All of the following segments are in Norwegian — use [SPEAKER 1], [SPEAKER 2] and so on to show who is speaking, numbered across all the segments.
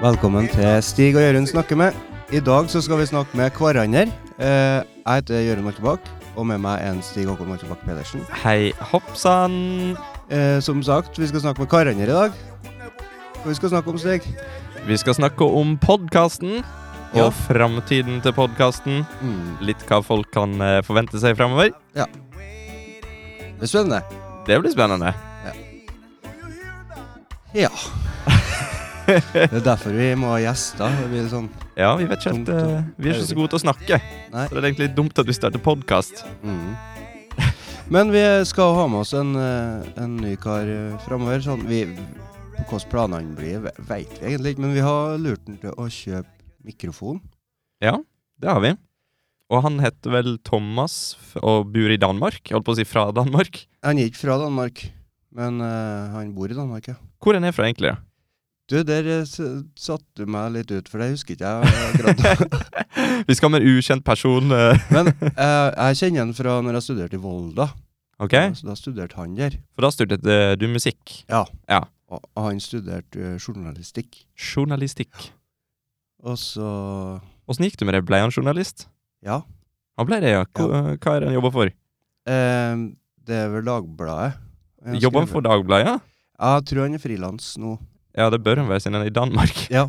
[SPEAKER 1] Velkommen til Stig og Jørund snakker med. I dag så skal vi snakke med hverandre. Eh, Jeg heter Jørund Moltebakk, og med meg er en Stig Håkon Moltebakk Pedersen.
[SPEAKER 2] Hei, hopp sann!
[SPEAKER 1] Eh, Som sagt, vi skal snakke med hverandre i dag. Og vi skal snakke om Stig.
[SPEAKER 2] Vi skal snakke om podkasten
[SPEAKER 1] Ja.
[SPEAKER 2] og framtiden til podkasten.
[SPEAKER 1] Mm,
[SPEAKER 2] Litt hva folk kan eh, forvente seg framover.
[SPEAKER 1] det er spennende.
[SPEAKER 2] Det blir spennende.
[SPEAKER 1] Ja. Det er derfor vi må ha gjester. Det blir sånn
[SPEAKER 2] Ja, vi vet ikke helt
[SPEAKER 1] Dumt, ja.
[SPEAKER 2] eh, Vi er ikke så gode til å snakke.
[SPEAKER 1] Nei.
[SPEAKER 2] Så det er egentlig litt dumt at vi starter podkast.
[SPEAKER 1] mm. Men vi skal ha med oss en, eh, en ny kar framover. Sånn, vi, hvordan planene blir, ve- vet vi egentlig ikke, men vi har lurt han til å kjøpe mikrofon.
[SPEAKER 2] Ja, det har vi. Og han heter vel Thomas f- og bor i Danmark. Jeg holdt på å si fra Danmark.
[SPEAKER 1] Han er ikke fra Danmark, men eh, han bor i Danmark, ja.
[SPEAKER 2] Hvor er han er fra, egentlig? da?
[SPEAKER 1] Du, der eh, s satte du meg litt ut, for det husker ikke jeg eh, akkurat.
[SPEAKER 2] Vi skal med en ukjent person. eh,
[SPEAKER 1] men eh, jeg kjenner han fra når jeg studerte i Volda.
[SPEAKER 2] Ok?
[SPEAKER 1] Så da studerte han der.
[SPEAKER 2] For da studerte du musikk.
[SPEAKER 1] Og og han studerte eh, journalistikk.
[SPEAKER 2] Journalistikk.
[SPEAKER 1] Og så
[SPEAKER 2] Åssen gikk det med det? Ble han journalist?
[SPEAKER 1] Ja.
[SPEAKER 2] Han ble det, ja. Hva, hva er det han jobber for?
[SPEAKER 1] eh, det er vel Dagbladet. Han har
[SPEAKER 2] Jobber han
[SPEAKER 1] skrevet.
[SPEAKER 2] for Dagbladet? Ja?
[SPEAKER 1] Jeg tror han er frilans nå.
[SPEAKER 2] ja, det bør han være siden han er i Danmark.
[SPEAKER 1] Ja.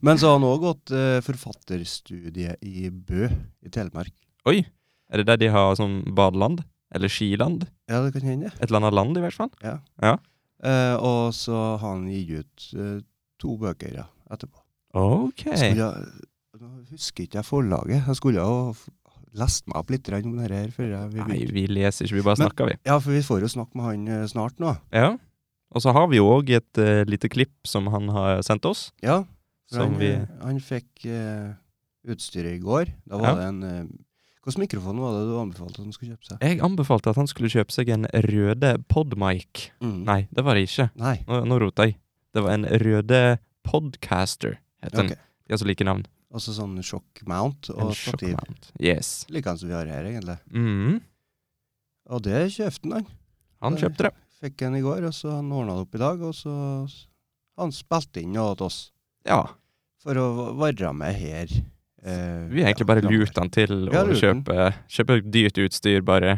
[SPEAKER 1] Men så har han òg gått eh, forfatterstudiet i Bø i Telemark.
[SPEAKER 2] Oi! Er det der de har sånn badeland? Eller skiland?
[SPEAKER 1] Ja, det kan hende.
[SPEAKER 2] Et eller annet land, i hvert fall.
[SPEAKER 1] Eh, og så har han gitt ut eh, to bøker ja, etterpå.
[SPEAKER 2] Ok.
[SPEAKER 1] Skulle jeg, nå husker ikke jeg forlaget. Jeg skulle jo f- lest meg opp litt grann om dette her før jeg vi
[SPEAKER 2] Nei,
[SPEAKER 1] begynte.
[SPEAKER 2] vi leser ikke, vi bare
[SPEAKER 1] Men-
[SPEAKER 2] snakker, vi.
[SPEAKER 1] Ja, for vi får jo snakke med han eh, snart nå.
[SPEAKER 2] Ja. Og så har vi jo òg et eh, lite klipp som han har sendt oss.
[SPEAKER 1] Ja, for
[SPEAKER 2] Som
[SPEAKER 1] han,
[SPEAKER 2] vi
[SPEAKER 1] eh, han fikk eh, utstyret i går. Da var
[SPEAKER 2] Ja.
[SPEAKER 1] det en eh, Hvilken mikrofon var det du anbefalte at han skulle kjøpe seg?
[SPEAKER 2] Jeg anbefalte at han skulle kjøpe seg en røde podmic.
[SPEAKER 1] Mm.
[SPEAKER 2] Eh, Nei, det var det ikke.
[SPEAKER 1] Nei.
[SPEAKER 2] Nå, nå rota jeg. Det var en røde podcaster, het den.
[SPEAKER 1] Ok.
[SPEAKER 2] De har så like navn.
[SPEAKER 1] Altså sånn shock mount
[SPEAKER 2] En
[SPEAKER 1] og stativ.
[SPEAKER 2] sjokkmount. Yes.
[SPEAKER 1] Likende som vi har her, egentlig.
[SPEAKER 2] Mm.
[SPEAKER 1] Og det kjøpte han, han.
[SPEAKER 2] Han
[SPEAKER 1] Nei.
[SPEAKER 2] kjøpte det.
[SPEAKER 1] Fikk han i går, og så han ordna det opp i dag, og så han spilte inn noe til oss.
[SPEAKER 2] Ja.
[SPEAKER 1] For å va- være med her. eh,
[SPEAKER 2] Vi har egentlig
[SPEAKER 1] ja,
[SPEAKER 2] bare
[SPEAKER 1] framover.
[SPEAKER 2] lurt han til
[SPEAKER 1] Vi har
[SPEAKER 2] å
[SPEAKER 1] lurt han.
[SPEAKER 2] kjøpe, kjøpe dyrt utstyr, bare.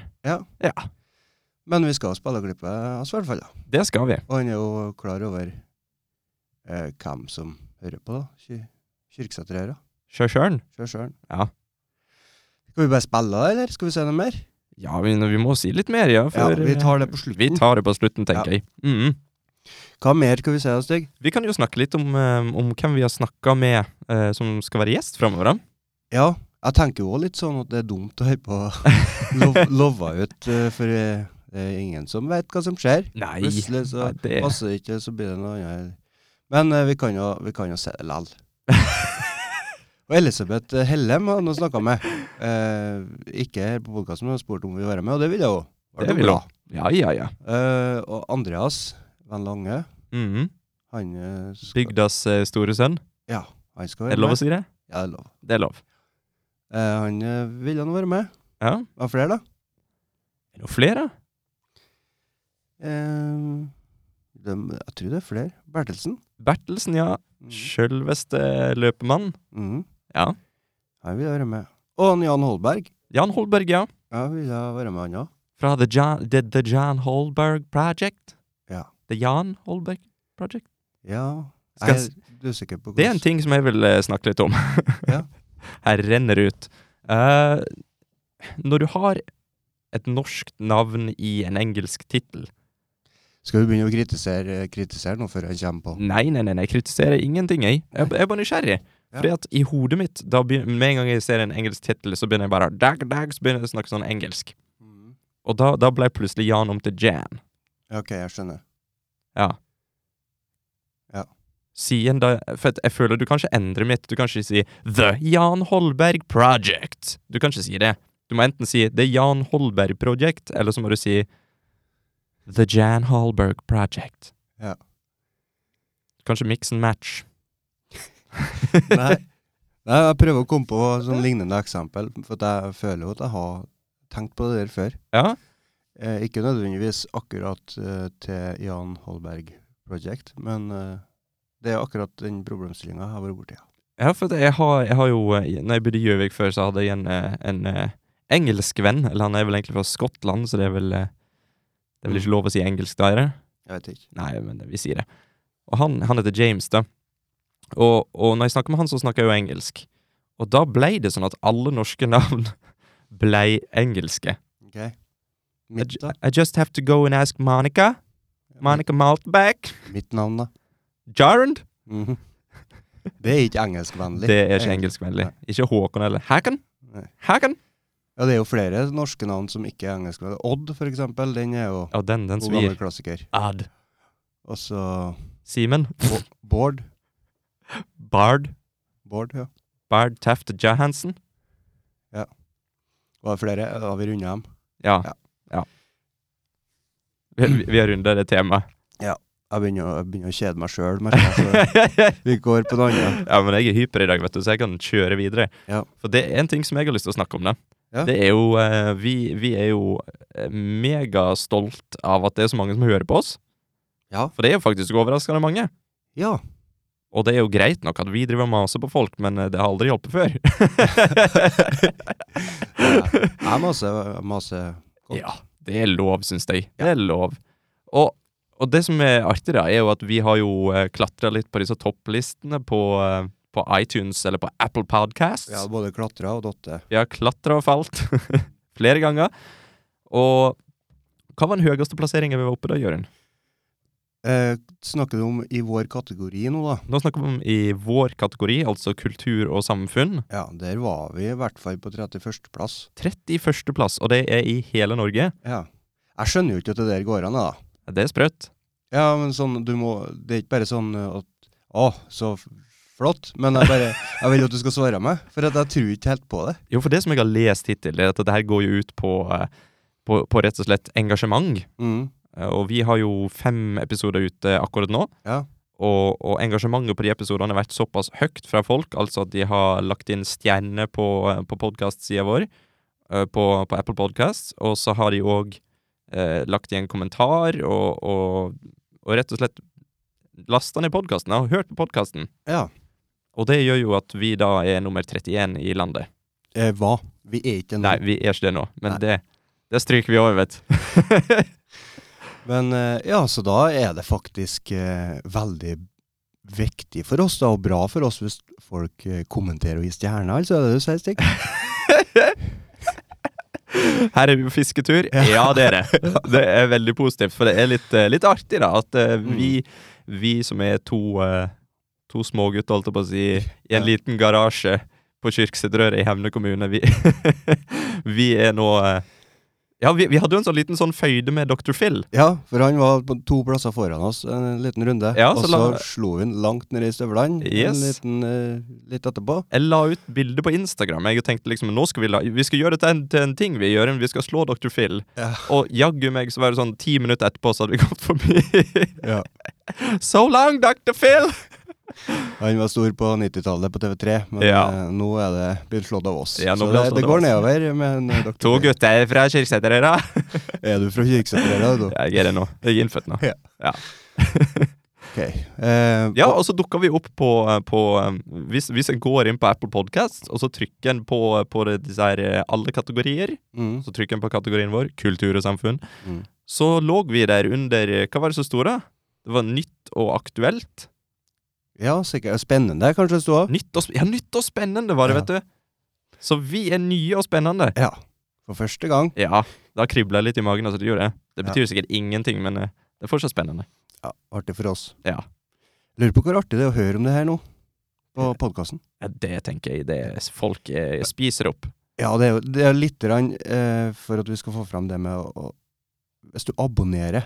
[SPEAKER 1] Men vi skal spille klippet hans, i hvert fall. da.
[SPEAKER 2] Det skal vi.
[SPEAKER 1] Og han er jo klar over eh, hvem som hører på, da. Ky Kyrksæter her, da.
[SPEAKER 2] Kjør sjøl.
[SPEAKER 1] Sjøl sjøl.
[SPEAKER 2] Ja.
[SPEAKER 1] Skal vi bare spille, da, eller skal vi se noe mer?
[SPEAKER 2] Ja, men vi må si litt mer, ja.
[SPEAKER 1] Ja, vi tar det på
[SPEAKER 2] slutten. eh, Vi tar det på slutten, tenker jeg. Mhm.
[SPEAKER 1] Hva mer skal vi se, da, Stig?
[SPEAKER 2] Vi kan jo snakke litt om, eh, om hvem vi har snakka med eh, som skal være gjest framover.
[SPEAKER 1] Ja, jeg tenker jo også litt sånn at det er dumt å høre på lov lova ut, eh, for eh, det er ingen som vet hva som skjer.
[SPEAKER 2] Nei.
[SPEAKER 1] Plutselig så
[SPEAKER 2] Nei, det
[SPEAKER 1] passer det ikke, så blir det noe annet. Men eh, vi, kan jo, vi kan jo se det likevel. Og Elisabeth eh, Hellem har nå snakka med. Eh, ikke her på podkasten, men har spurt om vi vil være med, og det vil jeg òg.
[SPEAKER 2] Det vil hun. Ja, ja, ja.
[SPEAKER 1] Eh, og Andreas Van Lange,
[SPEAKER 2] Mhm.
[SPEAKER 1] han, eh, skal,
[SPEAKER 2] Bygdas eh, store sønn.
[SPEAKER 1] ja, han skal
[SPEAKER 2] Er det
[SPEAKER 1] være
[SPEAKER 2] lov å
[SPEAKER 1] med.
[SPEAKER 2] si det?
[SPEAKER 1] Ja, det er lov.
[SPEAKER 2] Det er lov.
[SPEAKER 1] Eh, han eh, ville nå være med.
[SPEAKER 2] Ja.
[SPEAKER 1] Hva flere, da?
[SPEAKER 2] Er det noen flere?
[SPEAKER 1] Eh, dem- jeg tror det er flere. Bertelsen.
[SPEAKER 2] Bertelsen, ja.
[SPEAKER 1] Mm.
[SPEAKER 2] Sjølveste løpemann.
[SPEAKER 1] Mm.
[SPEAKER 2] Ja.
[SPEAKER 1] Han ville være med. Og han Jan Holberg.
[SPEAKER 2] Jan Holberg, ja.
[SPEAKER 1] Ja, ville være med, han òg.
[SPEAKER 2] Fra The Jan, the, the Jan Holberg Project.
[SPEAKER 1] Ja.
[SPEAKER 2] The Jan Holberg Project.
[SPEAKER 1] Ja.
[SPEAKER 2] Skal
[SPEAKER 1] Jeg
[SPEAKER 2] s-
[SPEAKER 1] er usikker på
[SPEAKER 2] Det er en ting som jeg vil eh, snakke litt om.
[SPEAKER 1] Ja.
[SPEAKER 2] Her renner det ut. Eh, når du har et norsk navn i en engelsk tittel
[SPEAKER 1] Skal vi begynne å kritisere, kritisere nå før han kommer på?
[SPEAKER 2] Nei, nei, nei, nei, jeg kritiserer ingenting, jeg. Jeg, er- jeg er bare nysgjerrig.
[SPEAKER 1] Ja.
[SPEAKER 2] Fordi at i hodet mitt, da begyn- med en gang jeg ser en engelsk tittel, så begynner jeg bare dag, dag, så begynner jeg å snakke sånn engelsk. Og da, da ble plutselig Jan om til Jan.
[SPEAKER 1] Ja, OK, jeg skjønner.
[SPEAKER 2] Ja.
[SPEAKER 1] Ja.
[SPEAKER 2] Siden da For at jeg føler du kan ikke endre mitt. Du kan ikke si The Jan Holberg Project. Du kan ikke si det. Du må enten si The Jan Holberg Project, eller så må du si The Jan Holberg Project.
[SPEAKER 1] Ja.
[SPEAKER 2] Kanskje mix and match.
[SPEAKER 1] Nei. Nei, jeg prøver å komme på sånn lignende eksempel, for at jeg føler jo at jeg har tenkt på det der før.
[SPEAKER 2] Ja.
[SPEAKER 1] Eh, ikke nødvendigvis akkurat eh, til Jan Holberg Project, men eh, Det er akkurat den problemstillinga jeg har vært borti. ja.
[SPEAKER 2] Ja, for at jeg har, jeg har jo eh, Når jeg bodde i Gjøvik før, så hadde jeg en, eh, en eh, engelskvenn. Eller han er vel egentlig fra Skottland, så det er vel eh, Det er vel ikke lov å si engelsk eh. da, er det?
[SPEAKER 1] Jeg vet ikke.
[SPEAKER 2] Nei, men vi sier det. Og han, han heter James, da. Og, og når jeg snakker med han, så snakker jeg jo engelsk. Og da blei det sånn at alle norske navn blei engelske.
[SPEAKER 1] Ok.
[SPEAKER 2] I,
[SPEAKER 1] Mitt,
[SPEAKER 2] ju-
[SPEAKER 1] da?
[SPEAKER 2] I just have to go and ask Monica. Monica Maltback.
[SPEAKER 1] Mitt navn, da?
[SPEAKER 2] Jarand.
[SPEAKER 1] Mhm. Det er ikke engelskvennlig. Eh,
[SPEAKER 2] Det er ikke engelskvennlig. Ikke Håkon eller Hakan.
[SPEAKER 1] Nei.
[SPEAKER 2] Hakan.
[SPEAKER 1] Ja, det er jo flere norske navn som ikke er engelskvennlige. Odd, for eksempel, den er jo
[SPEAKER 2] Ja, den, den
[SPEAKER 1] god gammel
[SPEAKER 2] svir.
[SPEAKER 1] klassiker.
[SPEAKER 2] Ad.
[SPEAKER 1] Og så
[SPEAKER 2] Simen.
[SPEAKER 1] Bå- Bård.
[SPEAKER 2] Bard.
[SPEAKER 1] Bård, ja.
[SPEAKER 2] Bard Taft Johansen.
[SPEAKER 1] Var det flere? Da har vi runda dem.
[SPEAKER 2] Ja.
[SPEAKER 1] Ja.
[SPEAKER 2] ja. Vi, vi- vi har runda det temaet.
[SPEAKER 1] Jeg begynner, å- jeg begynner å kjede meg sjøl, merker jeg. Så vi går på noe annet.
[SPEAKER 2] Ja, men jeg er hyper i dag, vet du, så jeg kan kjøre videre.
[SPEAKER 1] Ja.
[SPEAKER 2] For det er en ting som jeg har lyst til å snakke om, da.
[SPEAKER 1] Ja.
[SPEAKER 2] Det er jo eh, vi, vi er jo eh, megastolt av at det er så mange som hører på oss.
[SPEAKER 1] Ja.
[SPEAKER 2] For det er jo faktisk overraskende mange.
[SPEAKER 1] Ja.
[SPEAKER 2] Og det er jo greit nok at vi driver og maser på folk, men eh, det har aldri hjulpet før.
[SPEAKER 1] Jeg maser, jeg maser godt.
[SPEAKER 2] Ja, det er lov, syns jeg. Det er lov. Og, og det som er artig, da, er jo at vi har jo eh, klatra litt på disse topplistene på, eh, på iTunes eller på Apple Podcasts.
[SPEAKER 1] Jeg har både klatra og dotte.
[SPEAKER 2] Vi har klatra og falt flere ganger. Og hva var den høyeste plasseringen vi var oppe da, Jørund?
[SPEAKER 1] Eh, snakker du om i vår kategori nå, da?
[SPEAKER 2] Nå snakker vi om i vår kategori, altså kultur og samfunn.
[SPEAKER 1] Ja, der var vi i hvert fall på 31.-plass.
[SPEAKER 2] 31. plass, og det er i hele Norge.
[SPEAKER 1] Ja. Jeg skjønner jo ikke at det der går an, da.
[SPEAKER 2] Det er sprøtt.
[SPEAKER 1] Ja, men sånn, du må Det er ikke bare sånn eh, at Å, så f- flott, men jeg bare Jeg vil jo at du skal svare meg, for at jeg tror ikke helt på det.
[SPEAKER 2] Jo, for det som jeg har lest hittil, det er at det her går jo ut på, eh, på, på rett og slett engasjement.
[SPEAKER 1] Mm.
[SPEAKER 2] Eh, Og vi har jo fem episoder ute akkurat nå.
[SPEAKER 1] Ja.
[SPEAKER 2] Og, og engasjementet på de episodene har vært såpass høyt fra folk, altså at de har lagt inn stjerner på, eh, på podkast-sida vår, eh, på, på Apple Podcasts, og så har de òg eh, lagt igjen kommentar og, og, og rett og slett lasta ned podkasten og hørt på podkasten.
[SPEAKER 1] ja.
[SPEAKER 2] Og det gjør jo at vi da er nummer 31 i landet.
[SPEAKER 1] Eh, hva? Vi er ikke en
[SPEAKER 2] Nei, vi er ikke det nå, men
[SPEAKER 1] Nei.
[SPEAKER 2] det, det stryker vi over, vet
[SPEAKER 1] Men eh, ja, så da er det faktisk eh, veldig viktig for oss, da, og bra for oss, hvis folk eh, kommenterer og gir stjerner, altså. Er det det du sier, Stig?
[SPEAKER 2] Her er vi på fisketur. Ja, det er det. Det er veldig positivt, for det er litt, eh, litt artig da, at eh, vi, vi som er to, eh, to små gutter, holdt jeg på å si, i
[SPEAKER 1] Ja.
[SPEAKER 2] en liten garasje på Kyrksæterøret i Hemne kommune, vi, vi er nå eh, Ja, vi, vi hadde jo en sånn liten sånn føyde med Dr. Phil.
[SPEAKER 1] Ja, for han var på to plasser foran oss en liten runde,
[SPEAKER 2] Ja,
[SPEAKER 1] og
[SPEAKER 2] så
[SPEAKER 1] så
[SPEAKER 2] la-
[SPEAKER 1] slo vi han langt ned i støvlene en
[SPEAKER 2] Yes.
[SPEAKER 1] liten, eh, litt etterpå.
[SPEAKER 2] Jeg la ut bilde på Instagram. Jeg tenkte liksom nå skal vi, la, vi skal gjøre det til en, til en ting, vi gjør en, vi skal slå Dr. Phil.
[SPEAKER 1] Ja.
[SPEAKER 2] Og jaggu meg så var det sånn ti minutter etterpå så hadde vi gått forbi.
[SPEAKER 1] Ja.
[SPEAKER 2] So long, Dr. Phil!
[SPEAKER 1] Han var stor på 90-tallet på TV3, men
[SPEAKER 2] Ja.
[SPEAKER 1] eh, nå er det blitt slått av oss.
[SPEAKER 2] Ja, nå
[SPEAKER 1] så
[SPEAKER 2] blir
[SPEAKER 1] det,
[SPEAKER 2] han slått
[SPEAKER 1] det
[SPEAKER 2] av
[SPEAKER 1] går
[SPEAKER 2] oss.
[SPEAKER 1] nedover. Men eh,
[SPEAKER 2] To
[SPEAKER 1] dere,
[SPEAKER 2] gutter fra Kyrksæterøra.
[SPEAKER 1] er du fra Kyrksæterøra, du?
[SPEAKER 2] Jeg er det nå. Jeg er innfødt nå.
[SPEAKER 1] Ja. Ok. Eh,
[SPEAKER 2] Ja, og så dukker vi opp på, på um, hvis, hvis en går inn på Apple Podcast, og så trykker en på, på det- disse her, eh, alle kategorier,
[SPEAKER 1] Mm,
[SPEAKER 2] så trykker en på kategorien vår, kultur og samfunn,
[SPEAKER 1] mm.
[SPEAKER 2] så lå vi der under eh, Hva var det så store? Det var nytt og aktuelt.
[SPEAKER 1] ja, sikkert. Spennende, kanskje det sto av?
[SPEAKER 2] Nytt og, sp- ja, nytt og spennende var det,
[SPEAKER 1] Ja.
[SPEAKER 2] vet du. Så vi er nye og spennende.
[SPEAKER 1] Ja. For første gang.
[SPEAKER 2] Ja, da kribla jeg litt i magen. Altså, det gjorde jeg. Det betyr sikkert ingenting, men eh, det er fortsatt spennende.
[SPEAKER 1] Ja, Artig for oss.
[SPEAKER 2] Ja.
[SPEAKER 1] Lurer på hvor artig det er å høre om det her nå,
[SPEAKER 2] Eh,
[SPEAKER 1] på podkasten.
[SPEAKER 2] Ja, det tenker jeg. Det er, folk eh, spiser opp.
[SPEAKER 1] Ja, det er jo det er litt grann, eh, for at vi skal få fram det med å, å Hvis du abonnerer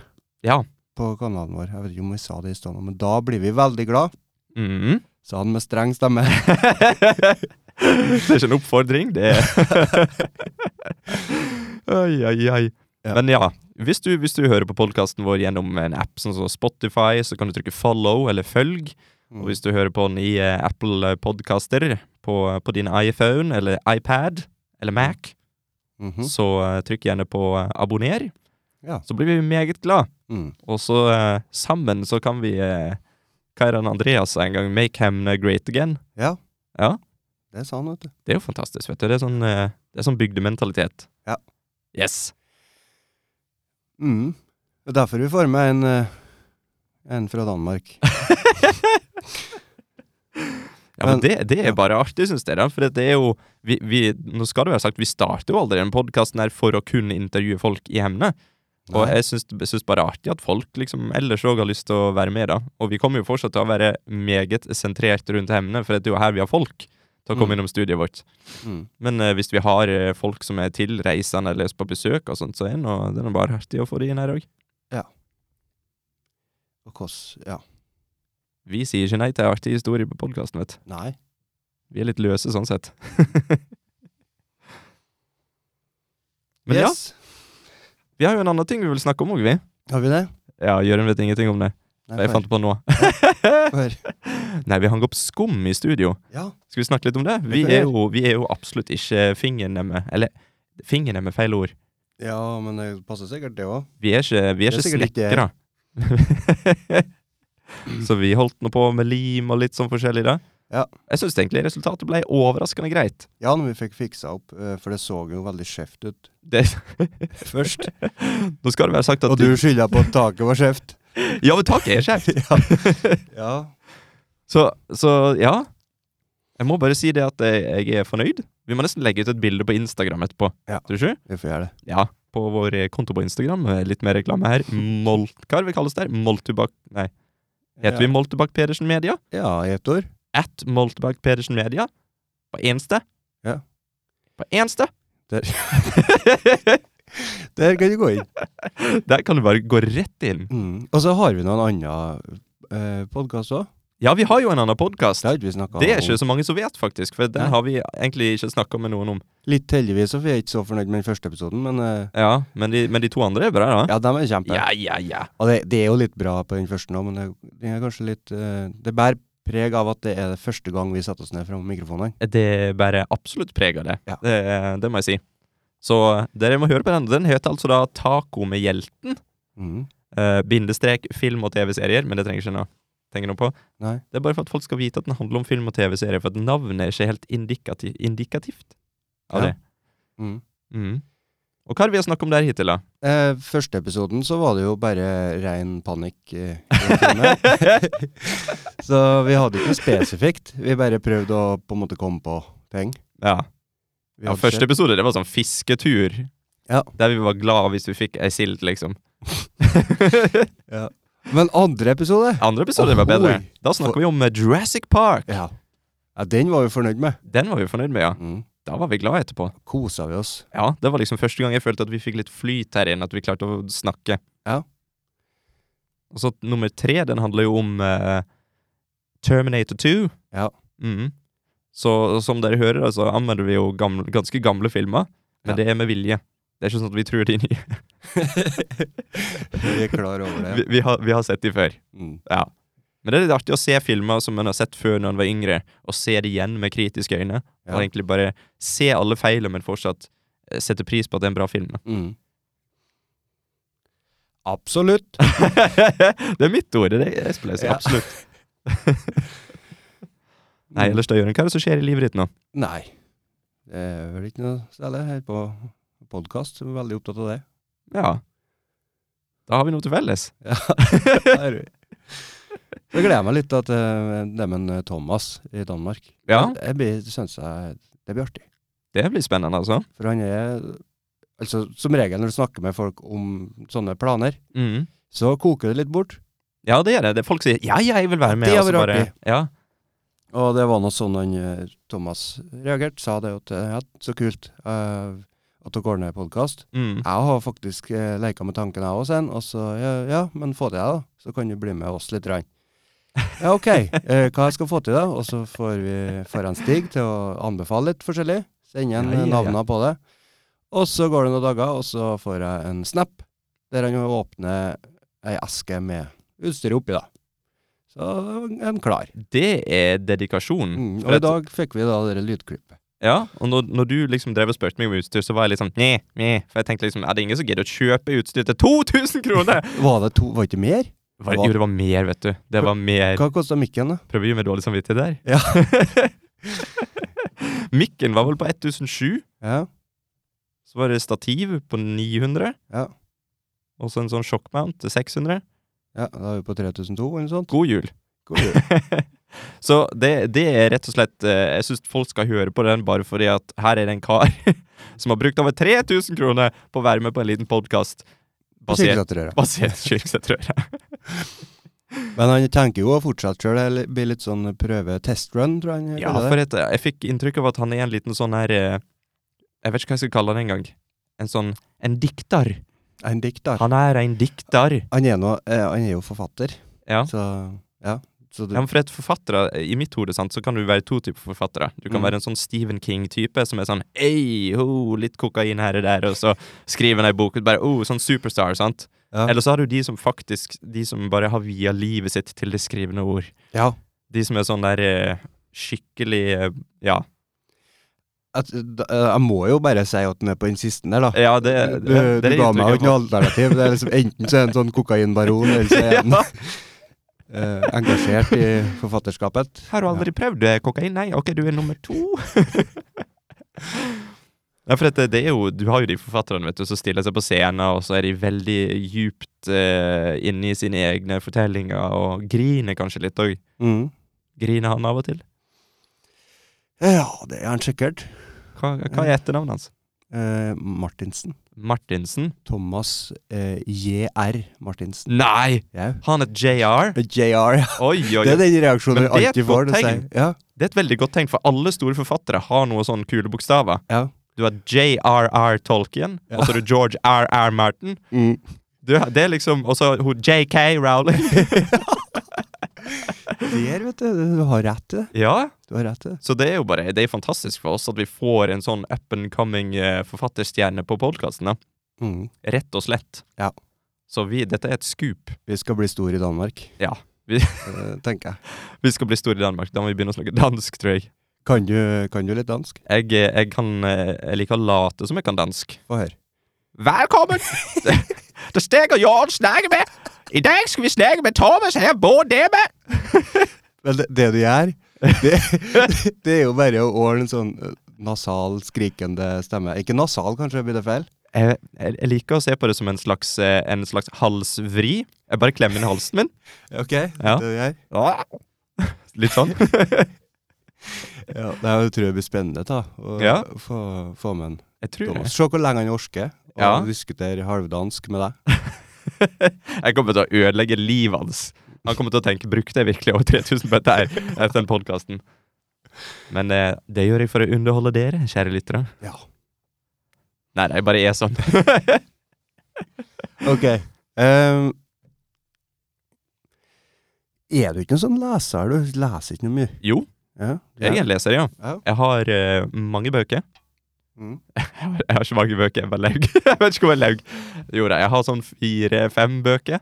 [SPEAKER 2] Ja.
[SPEAKER 1] på kanalen vår, jeg vet ikke om vi sa det i stad, nå, men da blir vi veldig glad,
[SPEAKER 2] Mhm.
[SPEAKER 1] sa han med streng stemme.
[SPEAKER 2] det er ikke en oppfordring, det er Oi, oi, oi.
[SPEAKER 1] Ja.
[SPEAKER 2] Men ja, hvis du, hvis du hører på podkasten vår gjennom en app sånn som Spotify, så kan du trykke follow eller følg.
[SPEAKER 1] Mm,
[SPEAKER 2] Og hvis du hører på den i eh, Apple Podcaster på, på din iPhone eller iPad eller Mac,
[SPEAKER 1] Mhm.
[SPEAKER 2] så eh, trykk gjerne på eh, abonner.
[SPEAKER 1] Ja.
[SPEAKER 2] Så blir vi meget glad.
[SPEAKER 1] Mm.
[SPEAKER 2] Og så eh, sammen så kan vi eh, Kairan Andreas sa en gang 'Make Hemne great again'.
[SPEAKER 1] Ja.
[SPEAKER 2] Ja.
[SPEAKER 1] Det sa han, vet du.
[SPEAKER 2] Det er jo fantastisk, vet du. Det er sånn, eh, det er sånn bygdementalitet.
[SPEAKER 1] Ja.
[SPEAKER 2] Yes.
[SPEAKER 1] Mm. Det er derfor vi får med en, eh, en fra Danmark.
[SPEAKER 2] Ja, men
[SPEAKER 1] Men-
[SPEAKER 2] det, det
[SPEAKER 1] ja.
[SPEAKER 2] er bare artig, syns dere. For det er jo vi, vi, Nå skal det være sagt, vi starter jo aldri den podkasten her for å kunne intervjue folk i emnet. Og
[SPEAKER 1] Nei.
[SPEAKER 2] jeg syns, syns bare artig at folk liksom ellers òg har lyst til å være med, da. Og vi kommer jo fortsatt til å være meget sentrert rundt emnet, for det er jo her vi har folk til å komme
[SPEAKER 1] Mm.
[SPEAKER 2] innom studiet vårt.
[SPEAKER 1] Mm.
[SPEAKER 2] Men eh, hvis vi har eh, folk som er tilreisende eller på besøk og sånt, så er det nå- det er nå bare artig å få det inn her òg.
[SPEAKER 1] Og hvordan Ja.
[SPEAKER 2] Vi sier ikke nei til artige historier på podkasten, vet du.
[SPEAKER 1] Nei.
[SPEAKER 2] Vi er litt løse sånn sett. Men ja,
[SPEAKER 1] yes.
[SPEAKER 2] vi har jo en annen ting vi vil snakke om òg, vi.
[SPEAKER 1] Har vi det?
[SPEAKER 2] Ja, Jørund vet ingenting om det.
[SPEAKER 1] Nei,
[SPEAKER 2] Jeg
[SPEAKER 1] for-
[SPEAKER 2] fant det på nå.
[SPEAKER 1] for-
[SPEAKER 2] Nei, vi hang opp skum i studio.
[SPEAKER 1] Ja.
[SPEAKER 2] Skal vi snakke litt om det? Vi
[SPEAKER 1] kan vi
[SPEAKER 2] er
[SPEAKER 1] gjøre.
[SPEAKER 2] jo, vi er jo absolutt ikke fingernemme Eller, fingernemme er feil ord.
[SPEAKER 1] ja, men det passer sikkert, det òg.
[SPEAKER 2] Vi er ikke, vi
[SPEAKER 1] Det
[SPEAKER 2] er
[SPEAKER 1] er
[SPEAKER 2] ikke
[SPEAKER 1] sikkert ikke
[SPEAKER 2] snekkere. Så vi holdt nå på med lim og litt sånn forskjellig da.
[SPEAKER 1] Ja.
[SPEAKER 2] Jeg syns egentlig resultatet ble overraskende greit.
[SPEAKER 1] Ja, når vi fikk fiksa opp, eh, for det så jo veldig skjevt ut
[SPEAKER 2] Det,
[SPEAKER 1] først.
[SPEAKER 2] nå skal det være sagt at
[SPEAKER 1] Og du skylda på at taket var skjevt.
[SPEAKER 2] Ja, men taket er skjevt!
[SPEAKER 1] Ja.
[SPEAKER 2] Så, så ja. Jeg må bare si det at jeg, jeg er fornøyd. Vi må nesten legge ut et bilde på Instagram etterpå.
[SPEAKER 1] Ja.
[SPEAKER 2] Tror du ikke?
[SPEAKER 1] Vi får gjøre det.
[SPEAKER 2] Ja. På vår eh, konto på Instagram. eh, Litt mer reklame her. Mol... Hva er det vi kalles der? Moltubakk Nei. Heter vi
[SPEAKER 1] ja.
[SPEAKER 2] Moltubakk Pedersen Media?
[SPEAKER 1] Ja, i ett ord.
[SPEAKER 2] At Moltubakk Pedersen Media. På eneste.
[SPEAKER 1] Ja.
[SPEAKER 2] På eneste.
[SPEAKER 1] Der. Der kan du gå inn.
[SPEAKER 2] Der kan du bare gå rett inn.
[SPEAKER 1] Mm. Og så har vi noen andre eh, podkaster òg.
[SPEAKER 2] Ja, vi har jo en annen podkast.
[SPEAKER 1] Det har ikke vi snakka om.
[SPEAKER 2] Det er ikke så mange som vet, faktisk. For
[SPEAKER 1] Nei.
[SPEAKER 2] den har vi egentlig ikke snakka med noen om.
[SPEAKER 1] Litt heldigvis så er jeg ikke så fornøyd med den første episoden, men eh,
[SPEAKER 2] Ja, Men de, men de to andre er bra, da.
[SPEAKER 1] ja, dem er kjempe.
[SPEAKER 2] Ja, ja, ja.
[SPEAKER 1] Og det, det er jo litt bra på den første nå, men det, det er kanskje litt eh, Det bærer preg av at det er det første gang vi setter oss ned framfor mikrofonene.
[SPEAKER 2] Det bærer absolutt preg av det.
[SPEAKER 1] Ja.
[SPEAKER 2] det. Det må jeg si. Så dere må høre på den. Den heter altså da Taco med hjelten.
[SPEAKER 1] Mm.
[SPEAKER 2] eh, bindestrek film og TV-serier, men det trenger ikke noe. Tenker noe på.
[SPEAKER 1] Nei.
[SPEAKER 2] Det er bare for at folk skal vite at den handler om film og TV-serier, for at navnet er ikke helt indikati indikativt av
[SPEAKER 1] Ja.
[SPEAKER 2] det.
[SPEAKER 1] Mm.
[SPEAKER 2] Mm. Og hva er det vi har snakket om der hittil, da?
[SPEAKER 1] Eh, første episoden så var det jo bare rein panikk. eh, i en time. så vi hadde ikke noe spesifikt. Vi bare prøvde å på en måte komme på ting.
[SPEAKER 2] Ja,
[SPEAKER 1] Vi
[SPEAKER 2] ja
[SPEAKER 1] hadde
[SPEAKER 2] Første
[SPEAKER 1] ikke-
[SPEAKER 2] episode det var sånn fisketur,
[SPEAKER 1] Ja.
[SPEAKER 2] der vi var glad hvis vi fikk ei sild, liksom.
[SPEAKER 1] Men andre episode
[SPEAKER 2] Andre episode var bedre.
[SPEAKER 1] Ohoi.
[SPEAKER 2] Da snakker vi om eh, Jurassic Park.
[SPEAKER 1] ja. ja, den var vi fornøyd med.
[SPEAKER 2] Den var vi fornøyd med, ja.
[SPEAKER 1] Mm.
[SPEAKER 2] Da var vi glad etterpå.
[SPEAKER 1] Kosa vi oss.
[SPEAKER 2] Ja, det var liksom første gang jeg følte at vi fikk litt flyt her inne, at vi klarte å snakke.
[SPEAKER 1] Ja.
[SPEAKER 2] Og så nummer tre, den handler jo om eh, Terminator 2.
[SPEAKER 1] Ja.
[SPEAKER 2] Mhm. Så som dere hører, da, så anmelder vi jo gamle, ganske gamle filmer, men
[SPEAKER 1] Ja.
[SPEAKER 2] det er med vilje. Det er ikke sånn at vi tror de er nye.
[SPEAKER 1] Vi er klar over det.
[SPEAKER 2] Vi, vi, har, vi har sett de før.
[SPEAKER 1] Mm.
[SPEAKER 2] Men det er litt artig å se filmer som en har sett før når en var yngre, og se det igjen med kritiske øyne.
[SPEAKER 1] Ja.
[SPEAKER 2] Og egentlig bare se alle feilene, men fortsatt eh, sette pris på at det er en bra film. da.
[SPEAKER 1] Mm. Absolutt.
[SPEAKER 2] det er mitt ord. Det er spleis,
[SPEAKER 1] Ja.
[SPEAKER 2] absolutt. Nei, ellers da, Jørgen, hva er det som skjer i livet ditt nå?
[SPEAKER 1] Nei. Det er vel ikke noe særlig her på podkast. Veldig opptatt av det.
[SPEAKER 2] Ja. Da har vi noe til felles.
[SPEAKER 1] Ja. Der. Så gleder jeg meg litt til uh, neimen eh, Thomas i Danmark.
[SPEAKER 2] Ja,
[SPEAKER 1] Det, blir, det synes jeg det blir artig.
[SPEAKER 2] det blir spennende, altså.
[SPEAKER 1] For han er Altså, som regel når du snakker med folk om sånne planer,
[SPEAKER 2] Mm.
[SPEAKER 1] så koker det litt bort.
[SPEAKER 2] Ja, det er det. det. Folk sier 'ja, ja, jeg vil være med'.
[SPEAKER 1] Det
[SPEAKER 2] og så
[SPEAKER 1] hadde vært artig.
[SPEAKER 2] ja.
[SPEAKER 1] Og det var nå sånn han eh, Thomas reagerte. Sa det at eh, ja, så kult eh, at dere ordner podkast.
[SPEAKER 2] Mm.
[SPEAKER 1] Jeg har faktisk eh, leka med tanken, jeg òg, Sen. Og så ja, ja, men få til det, da. Så kan du bli med oss litt. Rann. Ja, OK. Eh, hva jeg skal få til, da? Og så får vi får han Stig til å anbefale litt forskjellig. Sende igjen
[SPEAKER 2] Ja, ja, ja.
[SPEAKER 1] navnene på det. Og så går det noen dager, og så får jeg en snap der han åpner ei eske med utstyret oppi, da. Så er han klar.
[SPEAKER 2] Det er dedikasjon.
[SPEAKER 1] Mm.
[SPEAKER 2] For
[SPEAKER 1] Og i
[SPEAKER 2] at-
[SPEAKER 1] dag fikk vi da det der lydklippet.
[SPEAKER 2] Ja, og når, når du liksom drev og spurte meg om utstyr, så var jeg litt sånn Neh, neh. For jeg tenkte liksom, er det ingen som gidder å kjøpe utstyr til 2000 kroner?
[SPEAKER 1] Var det to Var det ikke mer?
[SPEAKER 2] Det var, jo, det var mer, vet du. Det var mer
[SPEAKER 1] Hva kosta mikken, da?
[SPEAKER 2] Prøver å gjøre meg dårlig samvittighet der.
[SPEAKER 1] Ja.
[SPEAKER 2] Mikken var vel på 1007.
[SPEAKER 1] Ja.
[SPEAKER 2] Så var det stativ på 900.
[SPEAKER 1] Ja.
[SPEAKER 2] Og så en sånn shockmount til 600.
[SPEAKER 1] ja, da er vi på 3002 eller noe sånt.
[SPEAKER 2] God jul.
[SPEAKER 1] God jul.
[SPEAKER 2] Så det, det er rett og slett eh, Jeg syns folk skal høre på den, bare fordi at her er det en kar som har brukt over 3000 kroner på å være med på en liten podkast basert
[SPEAKER 1] Kirkesatrøret.
[SPEAKER 2] basert Kyrksæterøra.
[SPEAKER 1] Men han tenker jo å fortsette sjøl. Det blir litt sånn prøve-test-run, tror jeg han
[SPEAKER 2] Ja,
[SPEAKER 1] kaller
[SPEAKER 2] for
[SPEAKER 1] det.
[SPEAKER 2] et, jeg fikk inntrykk av at han er en liten sånn her eh, Jeg vet ikke hva jeg skal kalle han engang. En sånn En dikter.
[SPEAKER 1] En dikter.
[SPEAKER 2] Han er en dikter.
[SPEAKER 1] Han er, nå- eh, han er jo forfatter,
[SPEAKER 2] Ja.
[SPEAKER 1] så ja. Så du,
[SPEAKER 2] Ja, men for et forfattere, I mitt hode sant, så kan du være to typer forfattere. Du kan
[SPEAKER 1] Mm.
[SPEAKER 2] være en sånn Stephen King-type som er sånn Ei, ho, litt kokain her og der, og så skriver han ei bok. Bare, oh, sånn superstar, sant?
[SPEAKER 1] Ja.
[SPEAKER 2] Eller så har du de som faktisk De som bare har via livet sitt til det skrivende ord.
[SPEAKER 1] ja.
[SPEAKER 2] De som er sånn der eh, skikkelig eh, Ja,
[SPEAKER 1] At, da, eh, jeg må jo bare si at den er på den siste der, da.
[SPEAKER 2] ja det,
[SPEAKER 1] Du,
[SPEAKER 2] det,
[SPEAKER 1] du
[SPEAKER 2] det, er
[SPEAKER 1] ga meg jo
[SPEAKER 2] inntrykket
[SPEAKER 1] ikke noe alternativ. Det er liksom, enten så er han sånn kokainbaron, eller så er
[SPEAKER 2] jeg får.
[SPEAKER 1] han
[SPEAKER 2] Ja.
[SPEAKER 1] eh, engasjert i forfatterskapet.
[SPEAKER 2] Har du aldri prøvd eh, kokain? Nei, ok, du er nummer to. Nei, for dette, det er jo, Du har jo de forfatterne vet du, som stiller seg på scenen, og så er de veldig djupt eh, inne i sine egne fortellinger, og griner kanskje litt òg.
[SPEAKER 1] Mm.
[SPEAKER 2] Griner han av og til?
[SPEAKER 1] Ja, det er han sikkert.
[SPEAKER 2] Hva, hva er etternavnet hans?
[SPEAKER 1] Eh, Martinsen.
[SPEAKER 2] Martinsen?
[SPEAKER 1] Thomas eh, JR Martinsen.
[SPEAKER 2] Nei!
[SPEAKER 1] Ja.
[SPEAKER 2] Har han et JR?
[SPEAKER 1] JR, ja.
[SPEAKER 2] Oi, oi,
[SPEAKER 1] Det er
[SPEAKER 2] oi.
[SPEAKER 1] den reaksjonen du
[SPEAKER 2] Men det er et
[SPEAKER 1] alltid får.
[SPEAKER 2] godt
[SPEAKER 1] det sier-
[SPEAKER 2] tegn.
[SPEAKER 1] Ja,
[SPEAKER 2] Det er et veldig godt tegn, for alle store forfattere har noen sånne kule bokstaver.
[SPEAKER 1] ja.
[SPEAKER 2] Du har JRR Tolkien,
[SPEAKER 1] Ja.
[SPEAKER 2] og så har du George RR Martin.
[SPEAKER 1] Mm.
[SPEAKER 2] Du, det er liksom Og så hun JK Rowling.
[SPEAKER 1] Der, vet du. Du har rett til det.
[SPEAKER 2] ja,
[SPEAKER 1] Du har rett til det.
[SPEAKER 2] så det er jo bare Det er fantastisk for oss at vi får en sånn up and coming eh, forfatterstjerne på podkasten.
[SPEAKER 1] Mm.
[SPEAKER 2] Rett og slett.
[SPEAKER 1] Ja.
[SPEAKER 2] Så vi, dette er et skup.
[SPEAKER 1] Vi skal bli store i Danmark.
[SPEAKER 2] Ja. Vi-
[SPEAKER 1] Eh, tenker jeg.
[SPEAKER 2] Vi skal bli store i Danmark. Da må vi begynne å snakke dansk, tror jeg.
[SPEAKER 1] Kan du, kan du litt dansk?
[SPEAKER 2] Jeg, eh, jeg, kan, eh, jeg liker å late som jeg kan dansk.
[SPEAKER 1] Få høre.
[SPEAKER 2] Velkommen! Det steker Jorn snakker med. I dag skal vi snakke med Thomas her, Bård Demme.
[SPEAKER 1] Men det, det du gjør, det, det er jo bare å ordne en sånn eh, nasal, skrikende stemme. Ikke nasal, kanskje, blir det feil?
[SPEAKER 2] Jeg, jeg, jeg liker å se på det som en slags, eh, en slags halsvri. Jeg bare klemmer inn i halsen min.
[SPEAKER 1] Ok,
[SPEAKER 2] Ja.
[SPEAKER 1] det du gjør.
[SPEAKER 2] Litt sånn.
[SPEAKER 1] Ja, det her tror jeg blir spennende, da. Å
[SPEAKER 2] Ja.
[SPEAKER 1] få, få med en
[SPEAKER 2] Jeg tror det.
[SPEAKER 1] Thomas. Se hvor lenge han orker å
[SPEAKER 2] Ja.
[SPEAKER 1] diskutere halvdansk med deg.
[SPEAKER 2] Jeg kommer til å ødelegge livet hans. Han kommer til å tenke brukte jeg virkelig over 3000 på dette her etter den podkasten. Men eh, det gjør jeg for å underholde dere, kjære lyttere.
[SPEAKER 1] Ja.
[SPEAKER 2] Nei, nei, jeg bare er sånn.
[SPEAKER 1] Ok. ehm, er du ikke en sånn leser? Du leser ikke noe mye?
[SPEAKER 2] Jo,
[SPEAKER 1] Ja.
[SPEAKER 2] jeg er en leser, ja.
[SPEAKER 1] Ja.
[SPEAKER 2] Jeg har eh, mange bøker.
[SPEAKER 1] Mm.
[SPEAKER 2] Jeg har, jeg har ikke mange bøker, jeg bare laug. jeg vet ikke hvor jeg laug. Jo da, jeg har sånn fire-fem bøker.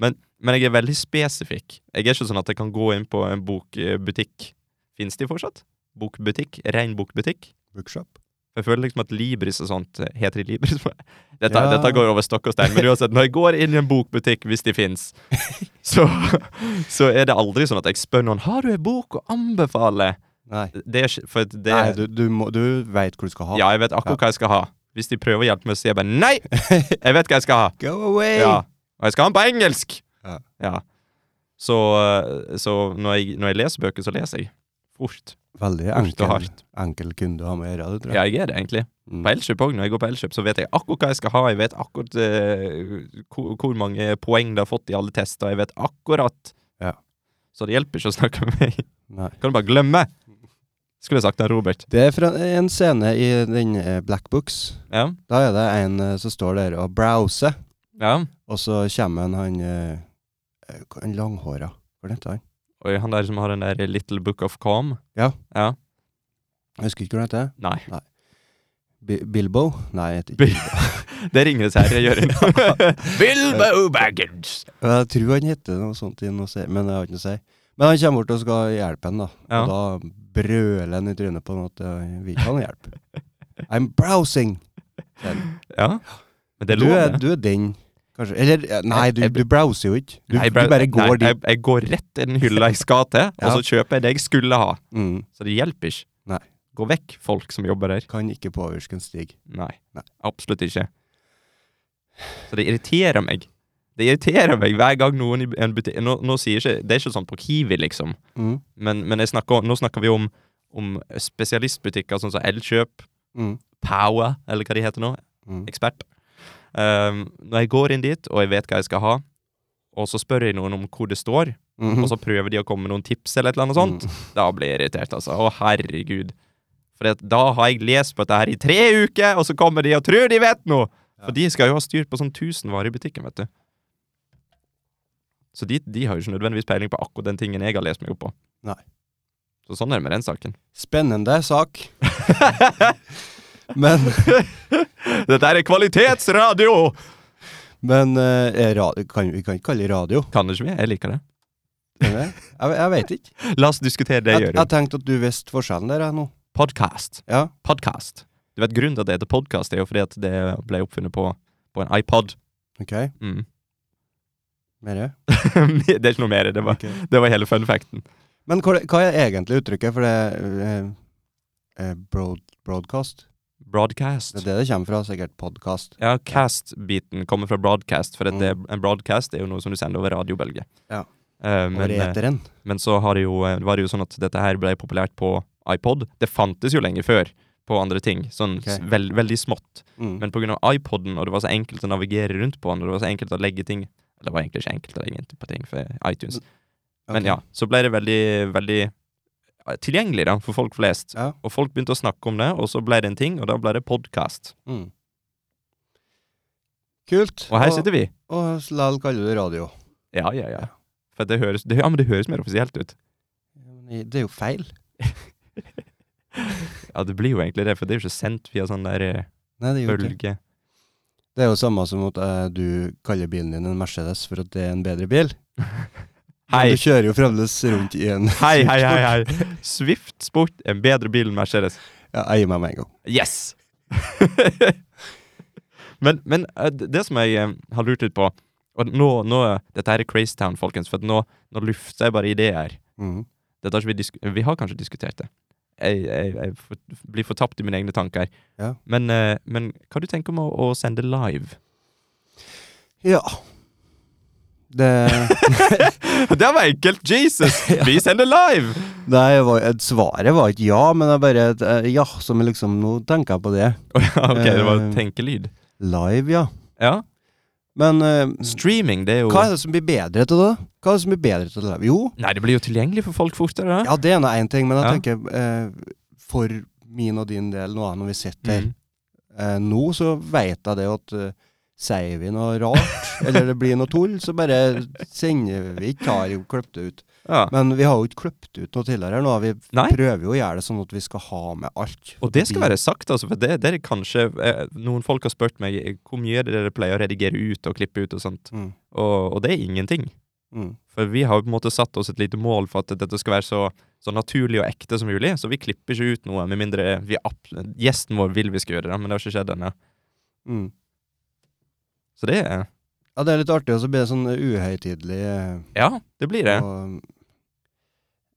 [SPEAKER 2] Men, men jeg er veldig spesifikk. Jeg er ikke sånn at jeg kan gå inn på en bokbutikk. Fins de fortsatt? Bokbutikk? Rein bokbutikk?
[SPEAKER 1] Bookshop?
[SPEAKER 2] Jeg føler liksom at Libris og sånt eh, Heter de Libris? Dette,
[SPEAKER 1] Ja.
[SPEAKER 2] dette går over stokk og stein. Men uansett, når jeg går inn i en bokbutikk, hvis de fins, så, så er det aldri sånn at jeg spør noen Har du ei bok å anbefale.
[SPEAKER 1] Nei.
[SPEAKER 2] Det er ikke For det
[SPEAKER 1] Nei du, du, må, du vet hvor du skal ha.
[SPEAKER 2] Ja, jeg vet akkurat hva jeg skal ha. Hvis de prøver å hjelpe meg, så sier jeg bare nei! Jeg vet hva jeg skal ha.
[SPEAKER 1] Go away!
[SPEAKER 2] Ja. Og jeg skal ha den på engelsk!
[SPEAKER 1] Ja.
[SPEAKER 2] Så, eh, så når, jeg, når jeg leser bøker, så leser jeg fort.
[SPEAKER 1] Veldig
[SPEAKER 2] Fort og
[SPEAKER 1] enkel,
[SPEAKER 2] hardt.
[SPEAKER 1] enkel kunde å ha med å gjøre, det tror jeg.
[SPEAKER 2] Ja, jeg er det, egentlig.
[SPEAKER 1] Mm.
[SPEAKER 2] På Elkjøp òg, når jeg går på Elkjøp, så vet jeg akkurat hva jeg skal ha. Jeg vet akkurat eh, hvor, hvor mange poeng det har fått i alle tester. Jeg vet akkurat.
[SPEAKER 1] Ja.
[SPEAKER 2] Så det hjelper ikke å snakke med meg.
[SPEAKER 1] Nei.
[SPEAKER 2] Kan du bare glemme? Skulle jeg sagt det, Robert.
[SPEAKER 1] Det er fra en scene i den eh, Black Books.
[SPEAKER 2] Ja.
[SPEAKER 1] Da er det en eh, som står der og browser,
[SPEAKER 2] ja.
[SPEAKER 1] og så kommer en han eh, eh, hva- En langhåra. Hva heter han?
[SPEAKER 2] Og han der som har den der Little Book of Calm.
[SPEAKER 1] Jeg husker ikke hva han heter.
[SPEAKER 2] Nei.
[SPEAKER 1] Bi Bilbo? Nei, jeg heter ikke.
[SPEAKER 2] Bi- Det ringer det her jeg gjør inne. Bilbo Baggins!
[SPEAKER 1] Jeg tror han heter noe sånt, i noe se- men jeg har ikke noe å si. Men han kommer bort og skal hjelpe han, da.
[SPEAKER 2] Ja.
[SPEAKER 1] Og da brøler han i trynet på han at eh, vi ikke har hjelp. I'm browsing! sier han.
[SPEAKER 2] Ja. Men det
[SPEAKER 1] du,
[SPEAKER 2] lå
[SPEAKER 1] er,
[SPEAKER 2] det.
[SPEAKER 1] du er den. Kanskje. Eller eh, Nei, du, du browser jo ikke. Du,
[SPEAKER 2] Nei,
[SPEAKER 1] du bare
[SPEAKER 2] nei,
[SPEAKER 1] går
[SPEAKER 2] jeg,
[SPEAKER 1] dit.
[SPEAKER 2] jeg går rett i den hylla jeg skal til, og
[SPEAKER 1] Ja.
[SPEAKER 2] så kjøper jeg det jeg skulle ha.
[SPEAKER 1] Mm.
[SPEAKER 2] Så det hjelper ikke.
[SPEAKER 1] Nei.
[SPEAKER 2] Gå vekk, folk som jobber der.
[SPEAKER 1] Kan ikke påvirke en stig.
[SPEAKER 2] Nei.
[SPEAKER 1] Nei.
[SPEAKER 2] Absolutt ikke. Så det irriterer meg. Det irriterer meg hver gang noen i en butikk nå, nå sier ikke Det er ikke sånn på Kiwi, liksom.
[SPEAKER 1] Mm.
[SPEAKER 2] Men, men jeg snakker, nå snakker vi om, om spesialistbutikker sånn som Elkjøp,
[SPEAKER 1] Mm.
[SPEAKER 2] Power, eller hva de heter nå.
[SPEAKER 1] Mm.
[SPEAKER 2] Ekspert. Um, når jeg går inn dit, og jeg vet hva jeg skal ha, og så spør jeg noen om hvor det står,
[SPEAKER 1] Mhm.
[SPEAKER 2] og så prøver de å komme med noen tips eller et
[SPEAKER 1] mm.
[SPEAKER 2] eller annet sånt, da blir jeg irritert, altså. Å, herregud. For det, at da har jeg lest på dette her i tre uker, og så kommer de og tror de vet noe! For de skal jo ha styr på sånn 1000 varer i butikken, vet du. Så de, de har jo ikke nødvendigvis peiling på akkurat den tingen jeg har lest meg opp på.
[SPEAKER 1] Nei.
[SPEAKER 2] Så sånn er det med den saken.
[SPEAKER 1] Spennende sak. Men,
[SPEAKER 2] Dette er kvalitetsradio!
[SPEAKER 1] men eh, radio, kan, vi kan ikke kalle det radio.
[SPEAKER 2] Kan ikke vi? Jeg liker det.
[SPEAKER 1] Kan vi det? Jeg, jeg vet ikke.
[SPEAKER 2] La oss diskutere det,
[SPEAKER 1] Jeg, jeg
[SPEAKER 2] Jørund.
[SPEAKER 1] tenkte at du visste forskjellen der jeg, nå.
[SPEAKER 2] Podcast.
[SPEAKER 1] Ja.
[SPEAKER 2] Podcast. Du vet, grunnen til at det heter podcast, er jo fordi at det ble oppfunnet på, på en iPod.
[SPEAKER 1] OK.
[SPEAKER 2] Mm.
[SPEAKER 1] Mere.
[SPEAKER 2] det er ikke noe mer. i Det var,
[SPEAKER 1] Ok.
[SPEAKER 2] det var hele fun facten.
[SPEAKER 1] Men hva, hva er egentlig uttrykket for det eh, eh, broad, broadcast?
[SPEAKER 2] Broadcast.
[SPEAKER 1] Det er det det kommer fra, sikkert podcast.
[SPEAKER 2] Ja, cast-biten kommer fra broadcast, for at
[SPEAKER 1] Mm.
[SPEAKER 2] det, en broadcast er jo noe som du sender over radiobølger.
[SPEAKER 1] Ja.
[SPEAKER 2] Eh, men,
[SPEAKER 1] Over eteren.
[SPEAKER 2] eh, men så har det jo, eh, var det jo sånn at dette her ble populært på iPod. Det fantes jo lenge før på andre ting, sånn
[SPEAKER 1] Ok.
[SPEAKER 2] s- vel, veldig smått.
[SPEAKER 1] Mm.
[SPEAKER 2] Men pga. iPoden, og det var så enkelt å navigere rundt på den, og det var så enkelt å legge ting Eller det var egentlig ikke enkelt å legge inn på ting for iTunes. Men
[SPEAKER 1] Mm, Ok.
[SPEAKER 2] ja, så ble det veldig, veldig eh, tilgjengelig da, for folk flest.
[SPEAKER 1] Ja.
[SPEAKER 2] Og folk begynte å snakke om det, og så ble det en ting, og da ble det podkast.
[SPEAKER 1] Mm. Kult.
[SPEAKER 2] Og her sitter vi.
[SPEAKER 1] Og likevel kaller du det radio.
[SPEAKER 2] Ja, ja, ja. For det høres, det, ja, men det høres mer offisielt ut.
[SPEAKER 1] Men Det er jo feil.
[SPEAKER 2] Ja, det blir jo egentlig det, for det er jo ikke sendt via sånn der eh,
[SPEAKER 1] Nei, det er jo ikke.
[SPEAKER 2] bølge.
[SPEAKER 1] Det er jo samme som at eh, du kaller bilen din en Mercedes for at det er en bedre bil. Men
[SPEAKER 2] Hei,
[SPEAKER 1] Du kjører jo fremdeles rundt i en
[SPEAKER 2] hei, hei, hei, hei. Swift Sport, en bedre bil enn Mercedes.
[SPEAKER 1] Ja, jeg gir meg med en gang.
[SPEAKER 2] Yes! men men eh, d- det som jeg eh, har lurt litt på, og nå, nå Dette her er Crazy Town, folkens, for at nå, nå lufter jeg bare ideer.
[SPEAKER 1] Mhm.
[SPEAKER 2] Dette har ikke vi, disk vi har kanskje diskutert det. Jeg, jeg, jeg for- blir fortapt i mine egne tanker.
[SPEAKER 1] Ja.
[SPEAKER 2] Men, eh, men hva du tenker om å, å sende live?
[SPEAKER 1] Ja. Det
[SPEAKER 2] Det var enkelt! Jesus! Vi sender live!
[SPEAKER 1] Nei, jeg var, et- svaret var ikke ja, men jeg bare et, eh, Ja, som jeg liksom Nå tenker jeg på det.
[SPEAKER 2] Å ja, ok, det var
[SPEAKER 1] Eh.
[SPEAKER 2] tenkelyd.
[SPEAKER 1] Live, ja.
[SPEAKER 2] Ja.
[SPEAKER 1] Men eh,
[SPEAKER 2] Streaming, det er jo
[SPEAKER 1] hva er det som blir bedre til det? Hva er det som blir bedre til det? Jo,
[SPEAKER 2] Nei, det blir jo tilgjengelig for folk fortere. da.
[SPEAKER 1] ja, det er nå én ting, men jeg
[SPEAKER 2] Ja.
[SPEAKER 1] tenker eh, for min og din del nå, når vi sitter her
[SPEAKER 2] Mm.
[SPEAKER 1] eh, Nå så veit jeg det at eh, sier vi noe rart, eller det blir noe tull, så bare sender vi ikke, har jo klippet det ut.
[SPEAKER 2] Ja.
[SPEAKER 1] Men vi har jo ikke klippet ut noe tidligere her nå. Vi
[SPEAKER 2] Nei.
[SPEAKER 1] prøver jo å gjøre det sånn at vi skal ha med alt.
[SPEAKER 2] Og det skal
[SPEAKER 1] Fordi-
[SPEAKER 2] være sagt, altså, for det, det er kanskje eh, Noen folk har spurt meg eh, hvor mye er det dere pleier å redigere ut og klippe ut og sånt,
[SPEAKER 1] Mm,
[SPEAKER 2] og, og det er ingenting.
[SPEAKER 1] mm,
[SPEAKER 2] For vi har jo på en måte satt oss et lite mål for at dette skal være så, så naturlig og ekte som mulig, så vi klipper ikke ut noe, med mindre vi app gjesten vår vil vi skal gjøre det, men det har ikke skjedd ennå.
[SPEAKER 1] mm.
[SPEAKER 2] Så det er
[SPEAKER 1] Ja, det er litt artig, og så blir det sånn uhøytidelig eh,
[SPEAKER 2] Ja, det blir det.
[SPEAKER 1] og um,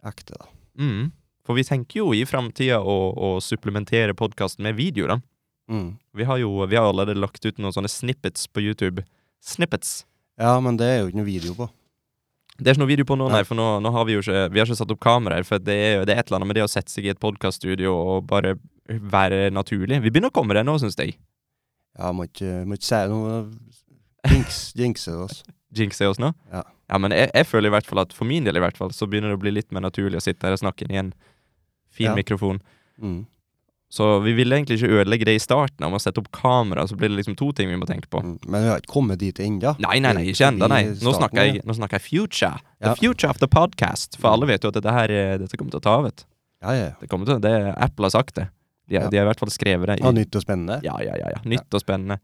[SPEAKER 1] ekte, da.
[SPEAKER 2] Mm. For vi tenker jo i framtida å, å supplementere podkasten med video, da.
[SPEAKER 1] Mm.
[SPEAKER 2] Vi har jo vi har allerede lagt ut noen sånne snippets på YouTube. Snippets.
[SPEAKER 1] Ja, men det er jo ikke noe video på.
[SPEAKER 2] Det er ikke noe video på nå, nei,
[SPEAKER 1] Nei.
[SPEAKER 2] for nå, nå har vi jo ikke Vi har ikke satt opp kameraer, for det er, jo- det er et eller annet med det å sette seg i et podkaststudio og bare være naturlig. Vi begynner å komme der nå, syns jeg.
[SPEAKER 1] Ja, må ikke, må ikke si noe. Jinx, jinxe det oss.
[SPEAKER 2] Jinxer oss nå.
[SPEAKER 1] Ja.
[SPEAKER 2] ja men jeg, jeg føler i hvert fall at for min del i hvert fall, så begynner det å bli litt mer naturlig å sitte her og snakke inn i en fin
[SPEAKER 1] Ja.
[SPEAKER 2] mikrofon.
[SPEAKER 1] Mm.
[SPEAKER 2] Så vi ville egentlig ikke ødelegge det i starten, om å sette opp kamera, så blir det liksom to ting vi må tenke på.
[SPEAKER 1] Mm. Men vi har ikke kommet dit ennå.
[SPEAKER 2] Nei, nei, nei, ikke ennå, nei. Nå snakker jeg, nå snakker jeg future. The
[SPEAKER 1] Ja.
[SPEAKER 2] future of the podcast. For alle vet jo at dette her, eh, dette kommer til å ta av, vet du.
[SPEAKER 1] Ja, ja. ja.
[SPEAKER 2] Det kommer til, det Apple har sagt det. De, har-
[SPEAKER 1] Ja.
[SPEAKER 2] de har i hvert fall skrevet det. i-
[SPEAKER 1] Ja, nytt og spennende.
[SPEAKER 2] ja, ja, ja, ja. Nytt og spennende.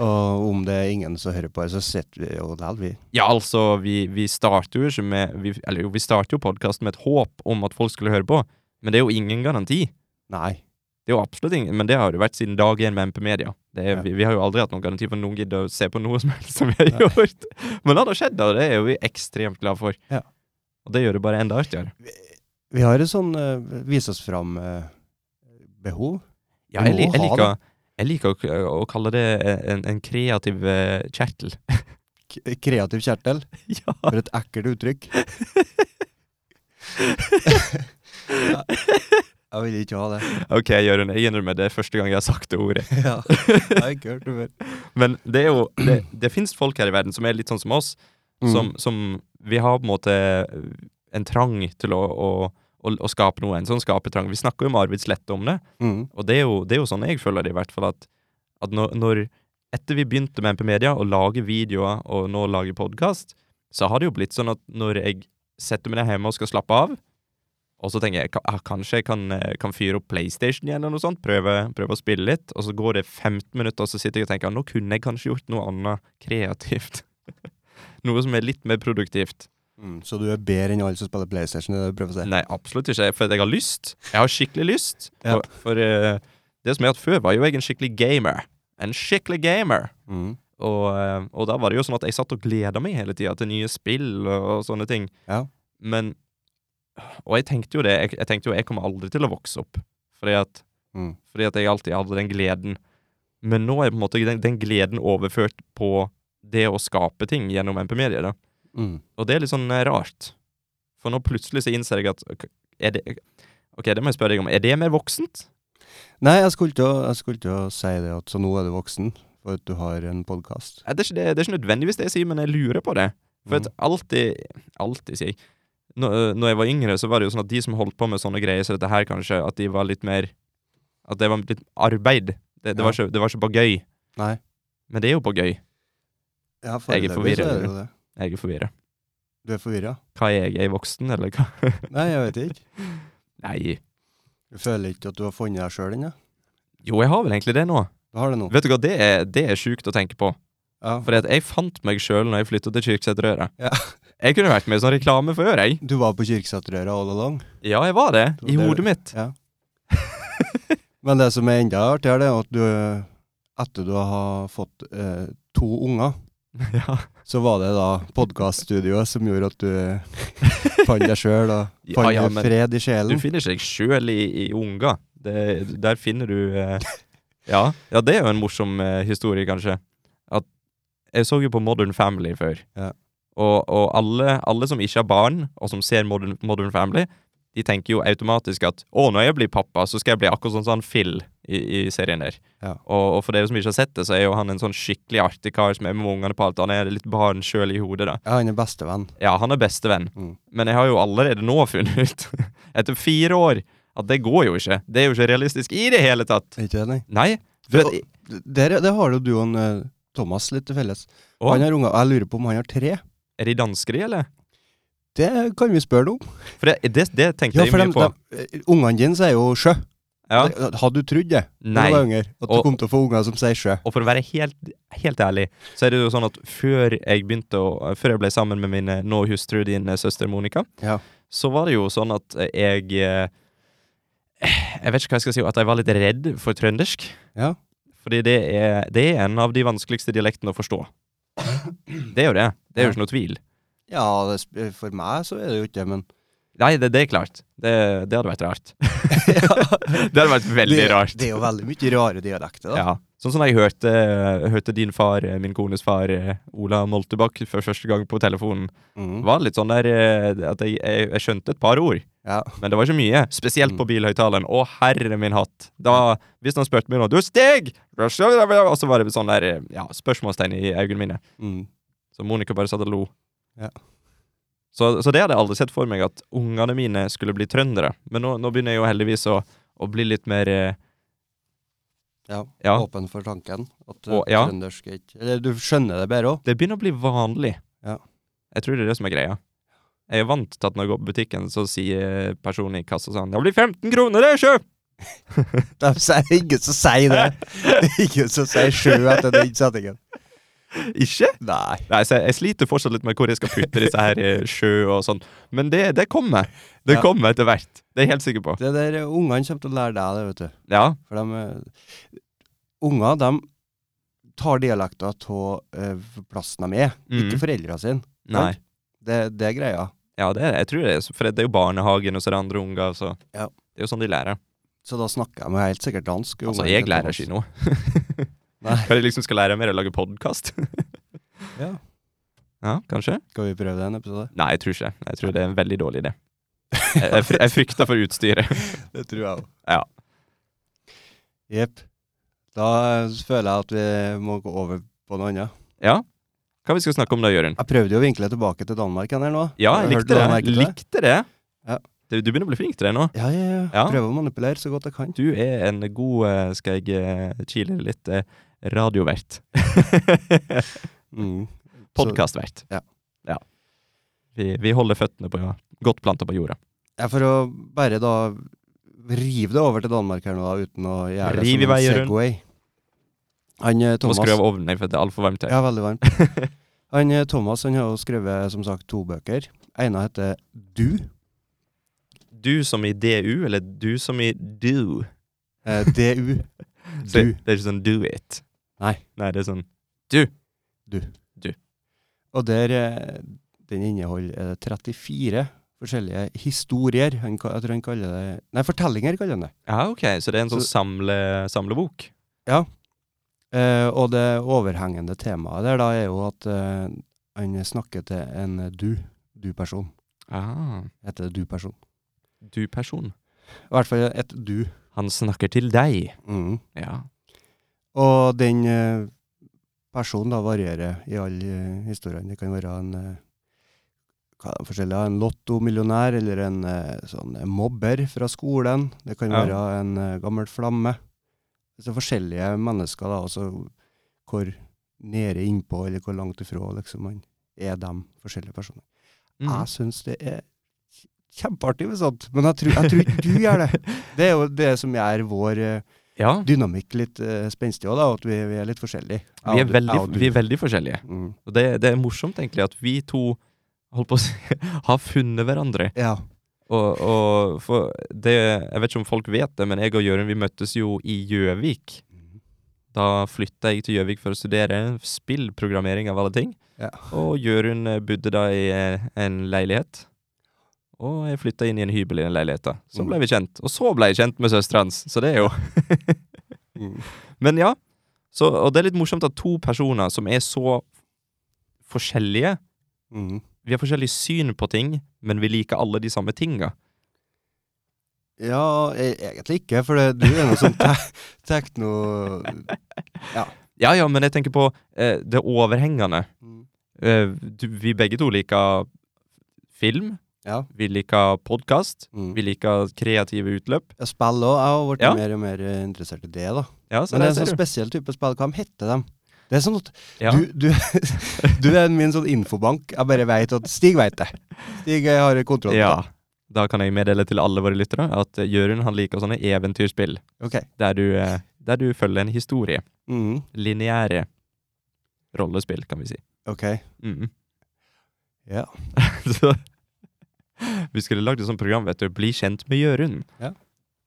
[SPEAKER 1] Og om det er ingen som hører på, her, så sitter vi jo der, vi.
[SPEAKER 2] Ja, altså, vi, vi starter jo ikke med vi, Eller jo, vi starter jo podkasten med et håp om at folk skulle høre på, men det er jo ingen garanti.
[SPEAKER 1] Nei.
[SPEAKER 2] Det er jo absolutt ingen, men det har det vært siden dag én med MP Media. Det er,
[SPEAKER 1] Ja.
[SPEAKER 2] vi, vi har jo aldri hatt noen garanti for at noen gidder å se på noe som helst som vi har gjort. Men det har skjedd, da, og det er jo vi ekstremt glad for.
[SPEAKER 1] Ja.
[SPEAKER 2] Og det gjør det bare enda artigere.
[SPEAKER 1] Vi har et sånn eh, vise oss fram-behov.
[SPEAKER 2] Ja, jeg, li-
[SPEAKER 1] må
[SPEAKER 2] jeg
[SPEAKER 1] ha
[SPEAKER 2] liker, jeg liker å, k- å kalle det en, en kreativ eh, kjertel.
[SPEAKER 1] kreativ kjertel.
[SPEAKER 2] ja.
[SPEAKER 1] For et ekkelt uttrykk. ja, jeg vil ikke ha det.
[SPEAKER 2] Ok, Jørund, jeg innrømmer det er første gang jeg har sagt det ordet.
[SPEAKER 1] Ja, jeg har ikke hørt det før.
[SPEAKER 2] Men det er jo Det, det fins folk her i verden som er litt sånn som oss,
[SPEAKER 1] Mm.
[SPEAKER 2] som, som Vi har på en måte en trang til å, å, å, å skape noe. En sånn skapertrang. Vi snakker jo med Arvid Slette om det,
[SPEAKER 1] Mm.
[SPEAKER 2] og det er jo, det er jo sånn jeg føler det, i hvert fall, at, at når, når Etter vi begynte med MP Media å lage videoer og nå lage podkast, så har det jo blitt sånn at når jeg setter meg ned hjemme og skal slappe av, og så tenker jeg "Ka- ah, kanskje jeg kan, eh, kan fyre opp PlayStation igjen, eller noe sånt, prøve, prøve å spille litt, og så går det 15 minutter, og så sitter jeg og tenker nå kunne jeg kanskje gjort noe annet kreativt. noe som er litt mer produktivt.
[SPEAKER 1] Mm. Så du er bedre enn alle som spiller PlayStation? Det er det du prøver å si?
[SPEAKER 2] Nei, absolutt ikke, for jeg har lyst. Jeg har skikkelig lyst.
[SPEAKER 1] Ja.
[SPEAKER 2] For, for eh, det som jeg har hatt før, var jo jeg en skikkelig gamer. En skikkelig gamer.
[SPEAKER 1] Mm.
[SPEAKER 2] Og, eh, og da var det jo sånn at jeg satt og gleda meg hele tida til nye spill og, og sånne ting.
[SPEAKER 1] Ja.
[SPEAKER 2] Men Og jeg tenkte jo det. Jeg, jeg tenkte jo jeg kommer aldri til å vokse opp. Fordi at,
[SPEAKER 1] Mm.
[SPEAKER 2] fordi at jeg alltid hadde den gleden. Men nå er på en måte den, den gleden overført på det å skape ting gjennom MP-medier. da.
[SPEAKER 1] Mm.
[SPEAKER 2] Og det er litt sånn eh, rart. For nå plutselig så innser jeg at ok, er det, Ok, det må jeg spørre deg om. Er det mer voksent?
[SPEAKER 1] Nei, jeg skulle til å- jeg skulle til å si det at så nå er du voksen, for at du har en podkast.
[SPEAKER 2] Nei, Det er, ikke, det, det er ikke nødvendigvis det jeg sier, men jeg lurer på det. For
[SPEAKER 1] Mm.
[SPEAKER 2] at alltid, alltid sier jeg eh, når, når jeg var yngre, så var det jo sånn at de som holdt på med sånne greier, så dette her kanskje, at de var litt mer At det var litt arbeid. Det, det, var, ikke, det var ikke bare gøy.
[SPEAKER 1] Nei.
[SPEAKER 2] Men det er jo bare gøy.
[SPEAKER 1] Mm. Ja,
[SPEAKER 2] Jeg er
[SPEAKER 1] foreløpig så
[SPEAKER 2] forvirret,
[SPEAKER 1] er det jo det.
[SPEAKER 2] Jeg er forvirra.
[SPEAKER 1] Du er forvirra?
[SPEAKER 2] Hva er jeg? Er jeg voksen, eller hva?
[SPEAKER 1] Nei, jeg vet ikke.
[SPEAKER 2] Nei.
[SPEAKER 1] Du føler ikke at du har funnet deg sjøl ennå?
[SPEAKER 2] Jo, jeg har vel egentlig det nå.
[SPEAKER 1] Du har det nå?
[SPEAKER 2] Vet du hva, det er, det er sjukt å tenke på.
[SPEAKER 1] Ja.
[SPEAKER 2] Fordi at jeg fant meg sjøl når jeg flytta til Kirksæterøra.
[SPEAKER 1] Ja.
[SPEAKER 2] Jeg kunne vært med i sånn reklame før, jeg.
[SPEAKER 1] Du var på Kirkeseterøra all along?
[SPEAKER 2] Ja, jeg var det. I
[SPEAKER 1] Det-
[SPEAKER 2] hodet mitt.
[SPEAKER 1] Ja. Men det som er enda artigere, det er at du etter du har fått eh, to unger,
[SPEAKER 2] ja.
[SPEAKER 1] så var det da podkaststudioet som gjorde at du fant deg sjøl og
[SPEAKER 2] Ja,
[SPEAKER 1] fant
[SPEAKER 2] ja, men-
[SPEAKER 1] fred i
[SPEAKER 2] Du
[SPEAKER 1] sjelen.
[SPEAKER 2] finner ikke deg sjøl i, i unga. Det, der finner du eh, ja. ja, det er jo en morsom eh, historie, kanskje. At jeg så jo på Modern Family før.
[SPEAKER 1] Ja.
[SPEAKER 2] Og, og alle, alle som ikke har barn, og som ser Modern, Modern Family, de tenker jo automatisk at å, når jeg blir pappa, så skal jeg bli akkurat sånn som han Phil i, i serien der.
[SPEAKER 1] Ja.
[SPEAKER 2] Og, og for dere som ikke har sett det, så er jo han en sånn skikkelig artig kar som er med ungene på alt. Han er litt barn sjøl i hodet, da.
[SPEAKER 1] Ja, han er bestevenn.
[SPEAKER 2] Ja, han er bestevenn.
[SPEAKER 1] Mm.
[SPEAKER 2] Men jeg har jo allerede nå funnet ut, etter fire år, at det går jo ikke. Det er jo ikke realistisk i det hele tatt.
[SPEAKER 1] Er ikke det, nei?
[SPEAKER 2] Nei. For at,
[SPEAKER 1] Der, der har jo du og en, eh, Thomas litt til felles.
[SPEAKER 2] å,
[SPEAKER 1] Han har unger, og jeg lurer på om han har tre.
[SPEAKER 2] er de dansker, de, eller?
[SPEAKER 1] Det kan vi spørre noe om.
[SPEAKER 2] For det, det, det tenkte
[SPEAKER 1] Ja,
[SPEAKER 2] jeg
[SPEAKER 1] for
[SPEAKER 2] mye
[SPEAKER 1] dem-
[SPEAKER 2] på.
[SPEAKER 1] dem- eh, ungene dine sier jo sjø.
[SPEAKER 2] Ja.
[SPEAKER 1] Det- Hadde du trodd det? Når
[SPEAKER 2] Nei.
[SPEAKER 1] du var yngre, at du
[SPEAKER 2] Og-
[SPEAKER 1] kom til å få unger som sier sjø?
[SPEAKER 2] Og for å være helt, helt ærlig, så er det jo sånn at før jeg begynte å, før jeg ble sammen med min eh, nå hustru, din eh, søster Monica,
[SPEAKER 1] Ja.
[SPEAKER 2] så var det jo sånn at eh, jeg eh, Jeg vet ikke hva jeg skal si, at jeg var litt redd for trøndersk.
[SPEAKER 1] Ja.
[SPEAKER 2] Fordi det er, det er en av de vanskeligste dialektene å forstå. Det er jo det. Det er jo ikke noe tvil.
[SPEAKER 1] Ja, det, sp- eh, for meg så er det jo ikke det, men
[SPEAKER 2] Nei, det, det er klart. Det, det hadde vært rart. det hadde vært veldig
[SPEAKER 1] det,
[SPEAKER 2] rart.
[SPEAKER 1] Det er jo veldig mye rare dialekter, da.
[SPEAKER 2] Ja. Sånn som jeg hørte, hørte din far, eh, min kones far, eh, Ola Moltebakk, for første gang på telefonen.
[SPEAKER 1] Mhm.
[SPEAKER 2] Det var litt sånn der eh, at jeg, jeg, jeg skjønte et par ord,
[SPEAKER 1] Ja.
[SPEAKER 2] men det var ikke mye. Spesielt på bilhøyttaleren. Å, herre min hatt! Da, hvis han spurte meg nå Du, Stig! Og så var det sånn der eh, ja, spørsmålstegn i øynene mine.
[SPEAKER 1] Mm.
[SPEAKER 2] Så Monica bare satt og lo.
[SPEAKER 1] Ja.
[SPEAKER 2] Så, så det hadde jeg aldri sett for meg, at ungene mine skulle bli trøndere. Men nå, nå begynner jeg jo heldigvis å, å bli litt mer eh,
[SPEAKER 1] ja.
[SPEAKER 2] Ja,
[SPEAKER 1] Åpen for tanken. At eh,
[SPEAKER 2] Og- ja.
[SPEAKER 1] trøndersk er ikke Eller du skjønner det bedre òg.
[SPEAKER 2] det begynner å bli vanlig.
[SPEAKER 1] Ja.
[SPEAKER 2] Jeg tror det er det som er greia. Jeg er vant til at når jeg går på butikken, så sier personen i kassa sånn 'Det blir 15 kroner, det, sjø!'
[SPEAKER 1] Det er ingen som sier det. Det er ingen som sier sjø etter den settingen.
[SPEAKER 2] Ikke?
[SPEAKER 1] Nei.
[SPEAKER 2] Nei, så jeg, jeg sliter fortsatt litt med hvor jeg skal putte disse her eh, sjø og sånn. Men det, det kommer. Det
[SPEAKER 1] Ja.
[SPEAKER 2] kommer etter hvert. Det er jeg helt sikker på.
[SPEAKER 1] Det der ungene kommer til å lære deg det, vet du.
[SPEAKER 2] Ja.
[SPEAKER 1] For de eh, Unger, de tar dialekter av eh, plassen de er,
[SPEAKER 2] Mhm.
[SPEAKER 1] ikke foreldra sine.
[SPEAKER 2] Nei.
[SPEAKER 1] Det, det er greia.
[SPEAKER 2] Ja, det er, jeg tror det er så- For det er jo barnehagen, og så er det andre unger, så
[SPEAKER 1] Ja.
[SPEAKER 2] Det er jo sånn de lærer.
[SPEAKER 1] Så da snakker de jo helt sikkert dansk.
[SPEAKER 2] Altså,
[SPEAKER 1] ungene
[SPEAKER 2] jeg
[SPEAKER 1] til
[SPEAKER 2] lærer
[SPEAKER 1] dans.
[SPEAKER 2] ikke noe.
[SPEAKER 1] Nei.
[SPEAKER 2] Hva jeg liksom skal lære mer, er å lage podkast?
[SPEAKER 1] Ja.
[SPEAKER 2] ja, kanskje?
[SPEAKER 1] Skal vi prøve det en episode?
[SPEAKER 2] Nei, jeg tror ikke det. Jeg tror det er en veldig dårlig idé. Jeg, jeg, fr- jeg frykter for utstyret.
[SPEAKER 1] Det tror jeg òg.
[SPEAKER 2] Ja.
[SPEAKER 1] Jepp. Da eh, føler jeg at vi må gå over på noe annet.
[SPEAKER 2] Ja. Hva vi skal snakke om da, Jørund?
[SPEAKER 1] Jeg prøvde jo å vinkle tilbake til Danmark igjen her nå.
[SPEAKER 2] Ja,
[SPEAKER 1] Har du
[SPEAKER 2] jeg
[SPEAKER 1] hørt
[SPEAKER 2] likte det.
[SPEAKER 1] Danmark til det?
[SPEAKER 2] Likte det.
[SPEAKER 1] Ja.
[SPEAKER 2] Du, du begynner å bli flink til det nå.
[SPEAKER 1] Ja, ja, ja.
[SPEAKER 2] Ja.
[SPEAKER 1] Prøve å manipulere så godt jeg kan.
[SPEAKER 2] Du er en god, eh, skal jeg eh, kile det litt, eh, radiovert.
[SPEAKER 1] Mm.
[SPEAKER 2] Podkastvert.
[SPEAKER 1] Ja.
[SPEAKER 2] ja. Vi, vi holder føttene på, godt planta på jorda.
[SPEAKER 1] Ja, for å bare da rive det over til Danmark her nå, da, uten å gjøre det
[SPEAKER 2] Riv i
[SPEAKER 1] som en
[SPEAKER 2] vei, Jørund.
[SPEAKER 1] Segway. Han eh,
[SPEAKER 2] Du må
[SPEAKER 1] Thomas
[SPEAKER 2] skru av ovnen, her, for det er altfor varmt her.
[SPEAKER 1] Ja, veldig varmt. Han eh, Thomas han har jo skrevet som sagt to bøker. Ene heter Du.
[SPEAKER 2] Du som i DU, eller du som i do.
[SPEAKER 1] Eh, DU.
[SPEAKER 2] Så
[SPEAKER 1] Du.
[SPEAKER 2] Det, det er ikke sånn do it.
[SPEAKER 1] Nei.
[SPEAKER 2] Nei, det er sånn
[SPEAKER 1] Og der eh, den inneholder eh, 34 forskjellige historier. Han, ka- jeg tror han kaller det Nei, fortellinger kaller han det.
[SPEAKER 2] Ja, ok, så det er en sånn samle, samlebok.
[SPEAKER 1] Eh, og det overhengende temaet der da er jo at eh, han snakker til en du. Du-person.
[SPEAKER 2] Ah.
[SPEAKER 1] Heter det du-person?
[SPEAKER 2] Du person.
[SPEAKER 1] I hvert fall et du.
[SPEAKER 2] Han snakker til deg.
[SPEAKER 1] Mhm.
[SPEAKER 2] Ja.
[SPEAKER 1] Og den eh, personen da varierer i alle eh, historiene. Det kan være en eh, hva er det forskjellig, en lottomillionær eller en eh, sånn mobber fra skolen. Det kan
[SPEAKER 2] Ja.
[SPEAKER 1] være en eh, gammel flamme. Så forskjellige mennesker, da, altså hvor nede innpå eller hvor langt ifra liksom, man er dem forskjellige personer.
[SPEAKER 2] Mm.
[SPEAKER 1] Jeg syns det er kj- kjempeartig med sånt, men jeg tror, jeg tror ikke du gjør det. Det er jo det som gjør vår eh,
[SPEAKER 2] Ja,
[SPEAKER 1] dynamikk litt uh, spenstig òg, da. At vi, vi er litt forskjellige.
[SPEAKER 2] vi
[SPEAKER 1] Ja,
[SPEAKER 2] er
[SPEAKER 1] du-
[SPEAKER 2] veldig,
[SPEAKER 1] ja, du.
[SPEAKER 2] vi er veldig forskjellige.
[SPEAKER 1] Mm.
[SPEAKER 2] Og det, det er morsomt, egentlig, at vi to holdt på å si, har funnet hverandre.
[SPEAKER 1] Ja.
[SPEAKER 2] Og, og for det, jeg vet ikke om folk vet det, men jeg og Jørund vi møttes jo i Gjøvik.
[SPEAKER 1] Mm.
[SPEAKER 2] Da flytta jeg til Gjøvik for å studere spillprogrammering av alle ting.
[SPEAKER 1] Ja.
[SPEAKER 2] Og Jørund eh, bodde da i eh, en leilighet. Og jeg flytta inn i en hybel i den leiligheta. Så
[SPEAKER 1] Mm.
[SPEAKER 2] ble vi kjent. Og så ble jeg kjent med søstera hans, så det er jo
[SPEAKER 1] Mm.
[SPEAKER 2] Men ja. Så, og det er litt morsomt at to personer som er så forskjellige
[SPEAKER 1] Mm.
[SPEAKER 2] Vi har forskjellig syn på ting, men vi liker alle de samme tinga.
[SPEAKER 1] Ja, e egentlig ikke, for det, du er noe sånn te tekno...
[SPEAKER 2] Ja ja, men jeg tenker på eh, det overhengende.
[SPEAKER 1] Mm.
[SPEAKER 2] Eh, du, vi begge to liker film.
[SPEAKER 1] Ja.
[SPEAKER 2] Vi liker podkast.
[SPEAKER 1] Mm.
[SPEAKER 2] Vi liker kreative utløp.
[SPEAKER 1] Jeg spiller òg. Jeg har blitt
[SPEAKER 2] Ja.
[SPEAKER 1] mer og mer eh, interessert i det, da.
[SPEAKER 2] Ja, så
[SPEAKER 1] Men det er en
[SPEAKER 2] der
[SPEAKER 1] sånn
[SPEAKER 2] ser du.
[SPEAKER 1] spesiell type spill. Hva de heter dem? Det er sånn at
[SPEAKER 2] Ja.
[SPEAKER 1] du, du, du er min sånn infobank. Jeg bare veit at Stig veit det. Stig eh, har kontroll. på
[SPEAKER 2] ja.
[SPEAKER 1] det.
[SPEAKER 2] Da kan jeg meddele til alle våre lyttere at eh, Jørund han liker sånne eventyrspill
[SPEAKER 1] Ok.
[SPEAKER 2] der du, eh, der du følger en historie.
[SPEAKER 1] Mm.
[SPEAKER 2] Lineære rollespill, kan vi si.
[SPEAKER 1] Ok.
[SPEAKER 2] Mm.
[SPEAKER 1] Ja.
[SPEAKER 2] så, vi skulle lagd et sånt program, vet du. Bli kjent med Jørund.
[SPEAKER 1] Ja.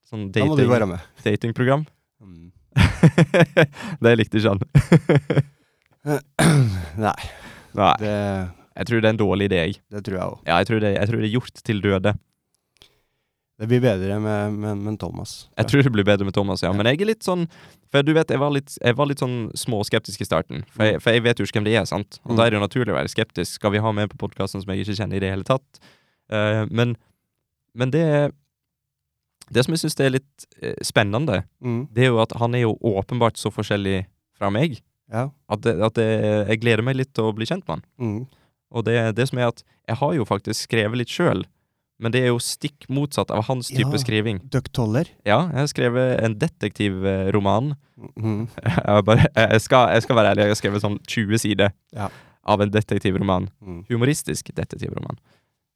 [SPEAKER 2] Sånn
[SPEAKER 1] Da må du være
[SPEAKER 2] dating,
[SPEAKER 1] med.
[SPEAKER 2] datingprogram.
[SPEAKER 1] Mm.
[SPEAKER 2] det likte ikke han.
[SPEAKER 1] Nei,
[SPEAKER 2] Nei,
[SPEAKER 1] det,
[SPEAKER 2] jeg tror det er en dårlig idé. jeg.
[SPEAKER 1] det tror jeg òg.
[SPEAKER 2] Ja, jeg tror, det, jeg tror det er gjort til døde.
[SPEAKER 1] Det blir bedre med, med, med Thomas.
[SPEAKER 2] Jeg tror det blir bedre med Thomas, ja. Men jeg er litt sånn For du vet, jeg var litt, jeg var litt sånn småskeptisk i starten. For jeg, for jeg vet jo ikke hvem det er, sant? Og
[SPEAKER 1] Mm.
[SPEAKER 2] da er det jo naturlig å være skeptisk. Skal vi ha med på podkasten som jeg ikke kjenner i det hele tatt? Eh, men, men det Det som jeg syns er litt eh, spennende,
[SPEAKER 1] Mm.
[SPEAKER 2] det er jo at han er jo åpenbart så forskjellig fra meg
[SPEAKER 1] Ja.
[SPEAKER 2] at, det, at det, jeg gleder meg litt til å bli kjent med han.
[SPEAKER 1] Mm.
[SPEAKER 2] Og det, det som er at jeg har jo faktisk skrevet litt sjøl, men det er jo stikk motsatt av hans type
[SPEAKER 1] Ja.
[SPEAKER 2] skriving.
[SPEAKER 1] Ducktoller.
[SPEAKER 2] Ja, jeg har skrevet en detektivroman.
[SPEAKER 1] Mhm.
[SPEAKER 2] Jeg, bare, jeg, skal, jeg skal være ærlig, jeg har skrevet sånn 20 sider
[SPEAKER 1] Ja.
[SPEAKER 2] av en detektivroman.
[SPEAKER 1] Mm.
[SPEAKER 2] Humoristisk detektivroman.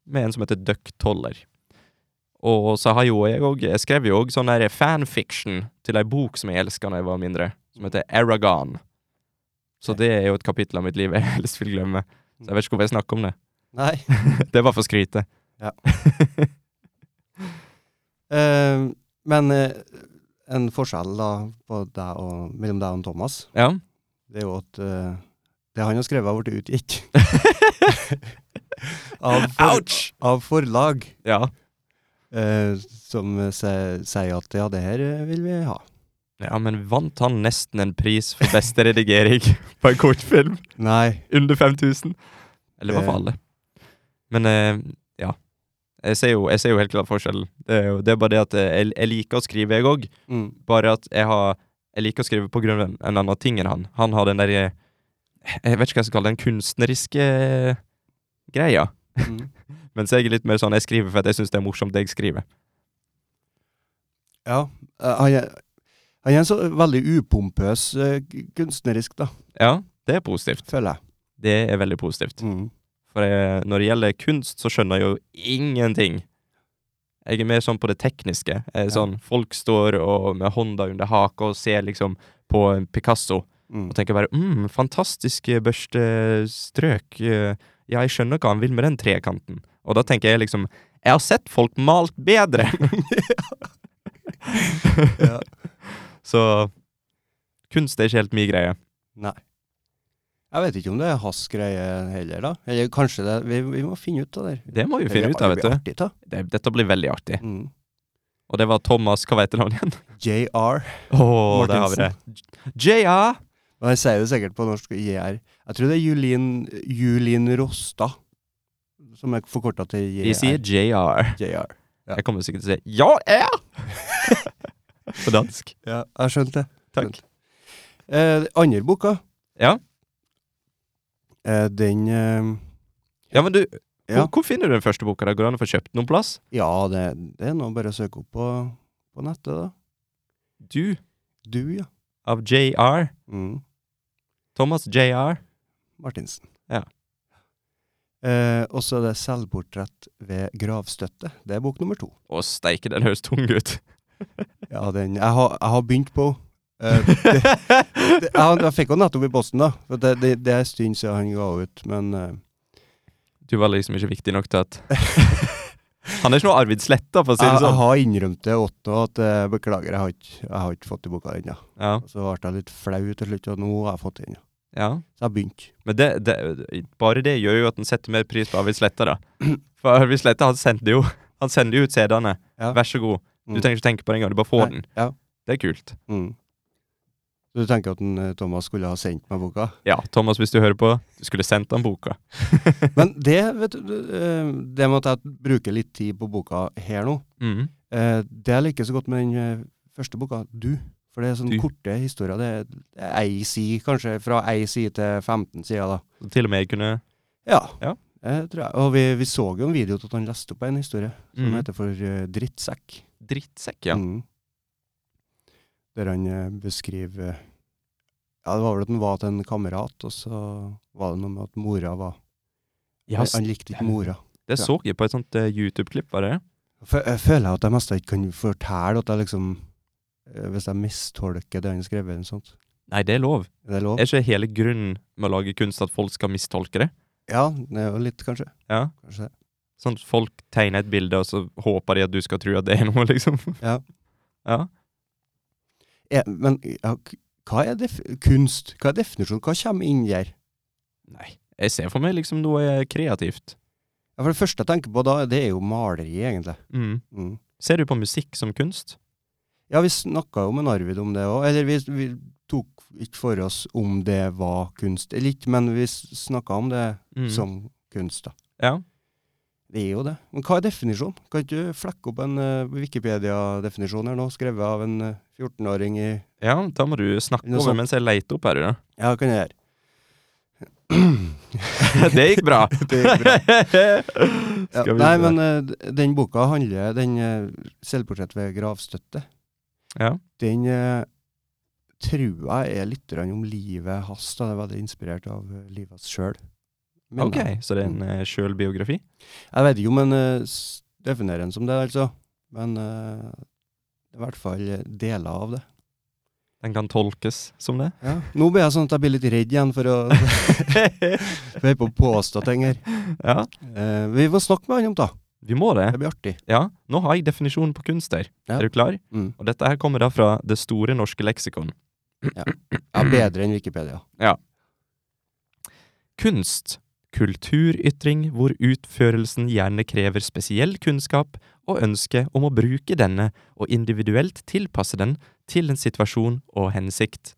[SPEAKER 2] Med en som heter Duck Toller. Og så har jo jeg òg Jeg skrev jo òg sånn der fanfiction til ei bok som jeg elska da jeg var mindre, som heter Aragon. Så det er jo et kapittel av mitt liv jeg helst vil glemme. Så jeg vet ikke hvorfor jeg snakker om det.
[SPEAKER 1] Nei.
[SPEAKER 2] Det er bare for å skryte.
[SPEAKER 1] Ja. Eh, men eh, en forskjell da på deg og, mellom deg og Thomas,
[SPEAKER 2] Ja.
[SPEAKER 1] det er jo at eh, det han har skrevet, har blitt utgitt. av, for,
[SPEAKER 2] Ouch!
[SPEAKER 1] av forlag
[SPEAKER 2] Ja.
[SPEAKER 1] eh, som se- sier at ja, det her eh, vil vi ha.
[SPEAKER 2] ja, men vant han nesten en pris for beste redigering på en kortfilm?
[SPEAKER 1] Nei.
[SPEAKER 2] Under 5000? Eller hva
[SPEAKER 1] Det-
[SPEAKER 2] for alle? Men eh, ja. Jeg ser, jo, jeg ser jo helt klart forskjellen. Det er, jo, det er bare det at eh, jeg, jeg liker å skrive, jeg òg.
[SPEAKER 1] Mm.
[SPEAKER 2] Bare at jeg har Jeg liker å skrive på grunn av en- en annen ting enn han. Han har den der eh, Jeg vet ikke hva jeg skal kalle det, den kunstneriske eh, greia.
[SPEAKER 1] Mm.
[SPEAKER 2] Mens jeg er litt mer sånn jeg skriver for at jeg syns det er morsomt, det jeg skriver.
[SPEAKER 1] Ja. eh, han, er, han er en så veldig upompøs eh, k- kunstnerisk, da,
[SPEAKER 2] Ja, det er positivt.
[SPEAKER 1] føler jeg.
[SPEAKER 2] Det er veldig positivt.
[SPEAKER 1] Mm.
[SPEAKER 2] For jeg, når det gjelder kunst, så skjønner jeg jo ingenting. Jeg er mer sånn på det tekniske. Jeg er
[SPEAKER 1] Ja.
[SPEAKER 2] sånn, folk står og, med hånda under haka og ser liksom på en Picasso
[SPEAKER 1] Mm.
[SPEAKER 2] og tenker bare mm, fantastiske børstestrøk. eh, Ja, jeg skjønner hva han vil med den trekanten. Og da tenker jeg liksom Jeg har sett folk malt bedre!
[SPEAKER 1] Ja.
[SPEAKER 2] Så kunst er ikke helt min greie.
[SPEAKER 1] Nei. Jeg vet ikke om det er hans greie heller, da. Eller kanskje det Vi, vi må finne ut av det.
[SPEAKER 2] Det må vi finne ut av, vet du.
[SPEAKER 1] vet du.
[SPEAKER 2] Det, dette blir veldig artig.
[SPEAKER 1] Mm.
[SPEAKER 2] Og det var Thomas Hva heter han igjen?
[SPEAKER 1] JR.
[SPEAKER 2] Å, der har vi det. J.A.
[SPEAKER 1] Og jeg sier det sikkert på norsk JR. Jeg tror det er Julin, Julin Rostad, som er forkorta til JR.
[SPEAKER 2] De sier JR.
[SPEAKER 1] JR. Ja.
[SPEAKER 2] Jeg kommer sikkert til å si Ja, er! På dansk.
[SPEAKER 1] Ja, jeg skjønte det.
[SPEAKER 2] Takk.
[SPEAKER 1] Eh, andre boka,
[SPEAKER 2] Ja.
[SPEAKER 1] eh, den eh,
[SPEAKER 2] ja, men du,
[SPEAKER 1] Ja.
[SPEAKER 2] hvor, hvor finner du den første boka? da? Går det an å få kjøpt noen plass?
[SPEAKER 1] Ja, det, det er nå bare å søke opp på, på nettet, da.
[SPEAKER 2] Du
[SPEAKER 1] Du, ja.
[SPEAKER 2] av JR.
[SPEAKER 1] Mm.
[SPEAKER 2] Thomas JR.
[SPEAKER 1] Martinsen.
[SPEAKER 2] Ja.
[SPEAKER 1] Eh, og så er det 'Selvportrett ved gravstøtte'. Det er bok nummer to.
[SPEAKER 2] Å, steike, den høres tung ut.
[SPEAKER 1] Ja, den, jeg, har, jeg har begynt på eh, det, det, jeg, jeg fikk henne nettopp i posten, da. For det, det, det er en stund siden han ga ut, men eh,
[SPEAKER 2] Du var liksom ikke viktig nok til at Han er ikke noe Arvid Sletta, for å si
[SPEAKER 1] jeg,
[SPEAKER 2] det
[SPEAKER 1] jeg
[SPEAKER 2] sånn.
[SPEAKER 1] har innrømt til Otto at eh, beklager, jeg har ikke, jeg har ikke fått i boka ennå.
[SPEAKER 2] Ja,
[SPEAKER 1] Og Så ble jeg litt flau til slutt, og nå har jeg fått den. ja.
[SPEAKER 2] ja.
[SPEAKER 1] Så jeg har begynt.
[SPEAKER 2] Men det, det, bare det gjør jo at en setter mer pris på Arvid Sletta, da. For Arvid Sletta, han sender jo Han sender jo ut CD-ene.
[SPEAKER 1] Ja.
[SPEAKER 2] Vær så god. Du
[SPEAKER 1] Mm.
[SPEAKER 2] trenger ikke tenke på det engang, du bare får
[SPEAKER 1] Nei,
[SPEAKER 2] den.
[SPEAKER 1] ja.
[SPEAKER 2] Det er kult.
[SPEAKER 1] Mm. Så du tenker at den, eh, Thomas skulle ha sendt meg boka?
[SPEAKER 2] Ja, Thomas, hvis du hører på, du skulle sendt han boka.
[SPEAKER 1] Men det, vet du, eh, det med at jeg bruker litt tid på boka her nå,
[SPEAKER 2] Mm.
[SPEAKER 1] eh, det jeg liker så godt med den eh, første boka, Du. For det er sånne
[SPEAKER 2] Du.
[SPEAKER 1] korte historier. Det er- det er ei side, kanskje fra ei side til 15 sider, da.
[SPEAKER 2] Så til og med jeg kunne
[SPEAKER 1] Ja.
[SPEAKER 2] Ja.
[SPEAKER 1] Eh, tror jeg. Og vi, vi så jo en video til at han leste opp en historie som
[SPEAKER 2] Mm.
[SPEAKER 1] heter for eh, 'Drittsekk'.
[SPEAKER 2] Drittsekk, ja.
[SPEAKER 1] Mm. Der han eh, beskriver eh, Ja, det var vel at han var til en kamerat, og så var det noe med at mora var
[SPEAKER 2] ja s-
[SPEAKER 1] Han likte ikke mora.
[SPEAKER 2] det
[SPEAKER 1] ja.
[SPEAKER 2] så jeg på et sånt eh, YouTube-klipp, var det?
[SPEAKER 1] Fø- Jeg føler at jeg mest ikke kan fortelle at jeg liksom eh, Hvis jeg mistolker det han har skrevet, eller noe sånt.
[SPEAKER 2] Nei, det er lov.
[SPEAKER 1] Er det lov?
[SPEAKER 2] Er ikke hele grunnen med å lage kunst at folk skal mistolke det?
[SPEAKER 1] Ja, det er jo litt, kanskje.
[SPEAKER 2] Ja.
[SPEAKER 1] kanskje. det.
[SPEAKER 2] Sånn at folk tegner et bilde, og så håper de at du skal tro at det er noe, liksom.
[SPEAKER 1] Ja.
[SPEAKER 2] Ja.
[SPEAKER 1] Er- men ja, k- hva er def kunst? Hva er definisjonen? Hva kommer inn der?
[SPEAKER 2] Nei. Jeg ser for meg liksom noe eh, kreativt.
[SPEAKER 1] Ja, for det første jeg tenker på da, det er jo maleri, egentlig.
[SPEAKER 2] Mm.
[SPEAKER 1] Mm.
[SPEAKER 2] Ser du på musikk som kunst?
[SPEAKER 1] Ja, vi snakka jo med Narvid om det òg. Eller vi, vi tok ikke for oss om det var kunst eller ikke, men vi snakka om det
[SPEAKER 2] Mm.
[SPEAKER 1] som kunst, da.
[SPEAKER 2] Ja.
[SPEAKER 1] Det er jo det. Men hva er definisjonen? Kan ikke du flekke opp en eh, Wikipedia-definisjon her nå, skrevet av en eh, 14-åring i
[SPEAKER 2] ja, da må du snakke
[SPEAKER 1] Noe
[SPEAKER 2] over
[SPEAKER 1] sånt.
[SPEAKER 2] mens jeg leter opp her, du.
[SPEAKER 1] Ja, hva kan jeg gjøre?
[SPEAKER 2] det gikk bra.
[SPEAKER 1] Det gikk bra. Ja,
[SPEAKER 2] Skal vi
[SPEAKER 1] nei,
[SPEAKER 2] se.
[SPEAKER 1] men eh, d- den boka handler Den eh, 'Selvportrett ved gravstøtte',
[SPEAKER 2] Ja.
[SPEAKER 1] den eh, tror jeg er litt grann om livet hans. da. Det er veldig inspirert av eh, livet hans sjøl.
[SPEAKER 2] Ok, så det er en uh, sjølbiografi?
[SPEAKER 1] Jeg vet ikke om en eh, s- definerer den som det, altså. Men eh, det er i hvert fall eh, deler av det.
[SPEAKER 2] Den kan tolkes som det?
[SPEAKER 1] Ja. Nå blir jeg sånn at jeg blir litt redd igjen for å for jeg er på å påstå ting her.
[SPEAKER 2] ja.
[SPEAKER 1] Eh, vi får snakke med han om det.
[SPEAKER 2] Vi må det.
[SPEAKER 1] Det blir artig.
[SPEAKER 2] Ja, nå har jeg definisjonen på kunst her.
[SPEAKER 1] Ja.
[SPEAKER 2] Er du klar?
[SPEAKER 1] Mm.
[SPEAKER 2] Og dette her kommer da fra Det store norske leksikon.
[SPEAKER 1] Ja, bedre enn Wikipedia.
[SPEAKER 2] Kunst. Kulturytring hvor utførelsen gjerne krever spesiell kunnskap og ønske om å bruke denne og individuelt tilpasse den til en situasjon og hensikt.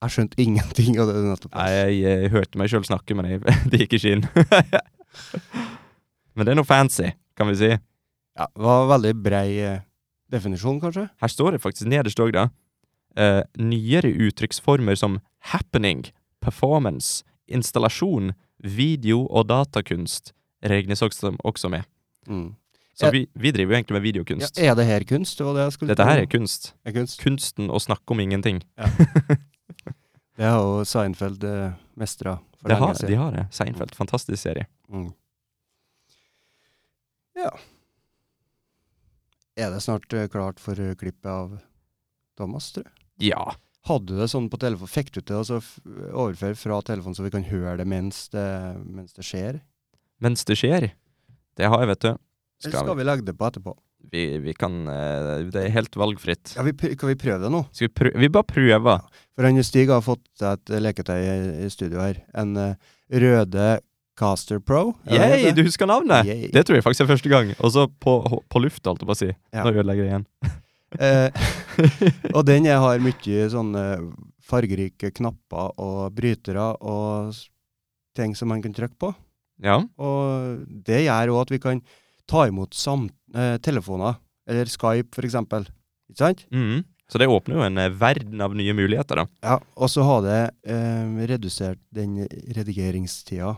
[SPEAKER 1] Jeg skjønte ingenting av det du nettopp
[SPEAKER 2] Nei, jeg, eh, hørte meg sjøl snakke, men jeg, det gikk ikke inn. men det er noe fancy, kan vi si.
[SPEAKER 1] Ja, det var veldig brei eh, definisjon, kanskje.
[SPEAKER 2] Her står det faktisk nederst òg, da. eh, nyere uttrykksformer som happening, performance, installasjon, video og datakunst regnes også, også med.
[SPEAKER 1] Mm.
[SPEAKER 2] Så
[SPEAKER 1] Ja.
[SPEAKER 2] vi, vi driver jo egentlig med
[SPEAKER 1] Ja,
[SPEAKER 2] videokunst.
[SPEAKER 1] er det her kunst? Det var det jeg skulle
[SPEAKER 2] Dette her er kunst.
[SPEAKER 1] er kunst.
[SPEAKER 2] Kunsten å snakke om ingenting.
[SPEAKER 1] Det har jo Seinfeld eh, mestra for
[SPEAKER 2] Det
[SPEAKER 1] lenge
[SPEAKER 2] har, de
[SPEAKER 1] siden.
[SPEAKER 2] har det. Seinfeld. Fantastisk serie.
[SPEAKER 1] Mm. Ja. Er det snart eh, klart for eh, klippet av Thomas, tror jeg?
[SPEAKER 2] Ja.
[SPEAKER 1] Hadde du det sånn på telefon? Fikk du til å så f- overføre fra telefonen, så vi kan høre det mens det, mens det skjer?
[SPEAKER 2] Mens det skjer. Det har jeg, vet du.
[SPEAKER 1] Eller skal
[SPEAKER 2] Skal vi,
[SPEAKER 1] vi legge det på etterpå?
[SPEAKER 2] vi, vi kan eh, Det er helt valgfritt.
[SPEAKER 1] Ja, vi, pr- Kan vi prøve det nå?
[SPEAKER 2] Skal vi prøve? Vi bare prøver.
[SPEAKER 1] For han Stig har fått seg et eh, leketøy i, i studio her. En eh, Røde Caster Pro. er det
[SPEAKER 2] Yay,
[SPEAKER 1] det
[SPEAKER 2] du husker navnet!
[SPEAKER 1] Yay.
[SPEAKER 2] Det tror jeg faktisk er første gang. Og så på, på luft, holdt jeg på å si.
[SPEAKER 1] Ja.
[SPEAKER 2] Nå ødelegger jeg igjen.
[SPEAKER 1] Eh, og den jeg har mye sånne fargerike knapper og brytere og s- ting som man kan trykke på.
[SPEAKER 2] Ja.
[SPEAKER 1] Og det gjør òg at vi kan ta imot sam eh, telefoner, eller Skype for eksempel. Ikke sant?
[SPEAKER 2] Mhm. Så det åpner jo en eh, verden av nye muligheter, da.
[SPEAKER 1] Ja, og så har det eh, redusert den redigeringstida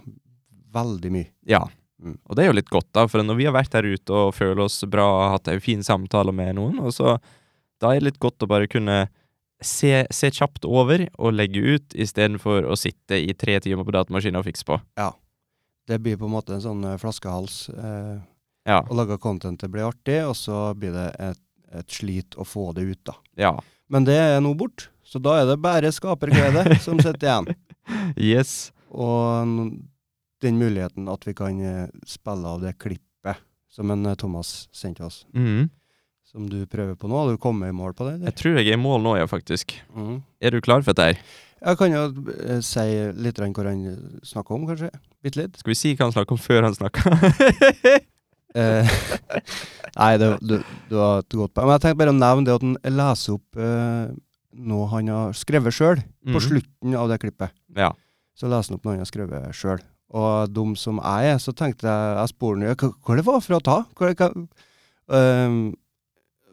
[SPEAKER 1] veldig mye.
[SPEAKER 2] Ja.
[SPEAKER 1] Mm.
[SPEAKER 2] Og det er jo litt godt, da, for når vi har vært her ute og føler oss bra og hatt en fin samtale med noen, og så da er det litt godt å bare kunne se, se kjapt over og legge ut, istedenfor å sitte i tre timer på datamaskinen og fikse på.
[SPEAKER 1] Det blir på en måte en sånn eh, flaskehals. Eh,
[SPEAKER 2] Ja.
[SPEAKER 1] Å lage contentet blir artig, og så blir det et, et slit å få det ut, da.
[SPEAKER 2] Ja.
[SPEAKER 1] Men det er nå bort, så da er det bare skaperglede som sitter igjen.
[SPEAKER 2] Yes.
[SPEAKER 1] Og n- den muligheten at vi kan eh, spille av det klippet som en eh, Thomas sendte oss,
[SPEAKER 2] Mhm.
[SPEAKER 1] som du prøver på nå. Har du kommet i mål på det?
[SPEAKER 2] Jeg
[SPEAKER 1] Eller?
[SPEAKER 2] tror jeg er i mål nå, ja, faktisk.
[SPEAKER 1] Mhm.
[SPEAKER 2] Er du klar for dette? her?
[SPEAKER 1] Jeg kan jo eh, si litt grann hvor han snakker om, kanskje. Bitte litt.
[SPEAKER 2] Skal vi si hva han snakker om før han snakker?
[SPEAKER 1] Eh, nei, det, du, du har et godt poeng. Men jeg tenkte bare å nevne det at han leser opp eh, noe han har skrevet sjøl,
[SPEAKER 2] Mhm.
[SPEAKER 1] på slutten av det klippet.
[SPEAKER 2] Ja.
[SPEAKER 1] så leser han opp noe han har skrevet sjøl. Og dum som jeg er, så tenkte jeg jeg spurte han, ja, hva hva det var for å ta. Hva, hva, Ehm,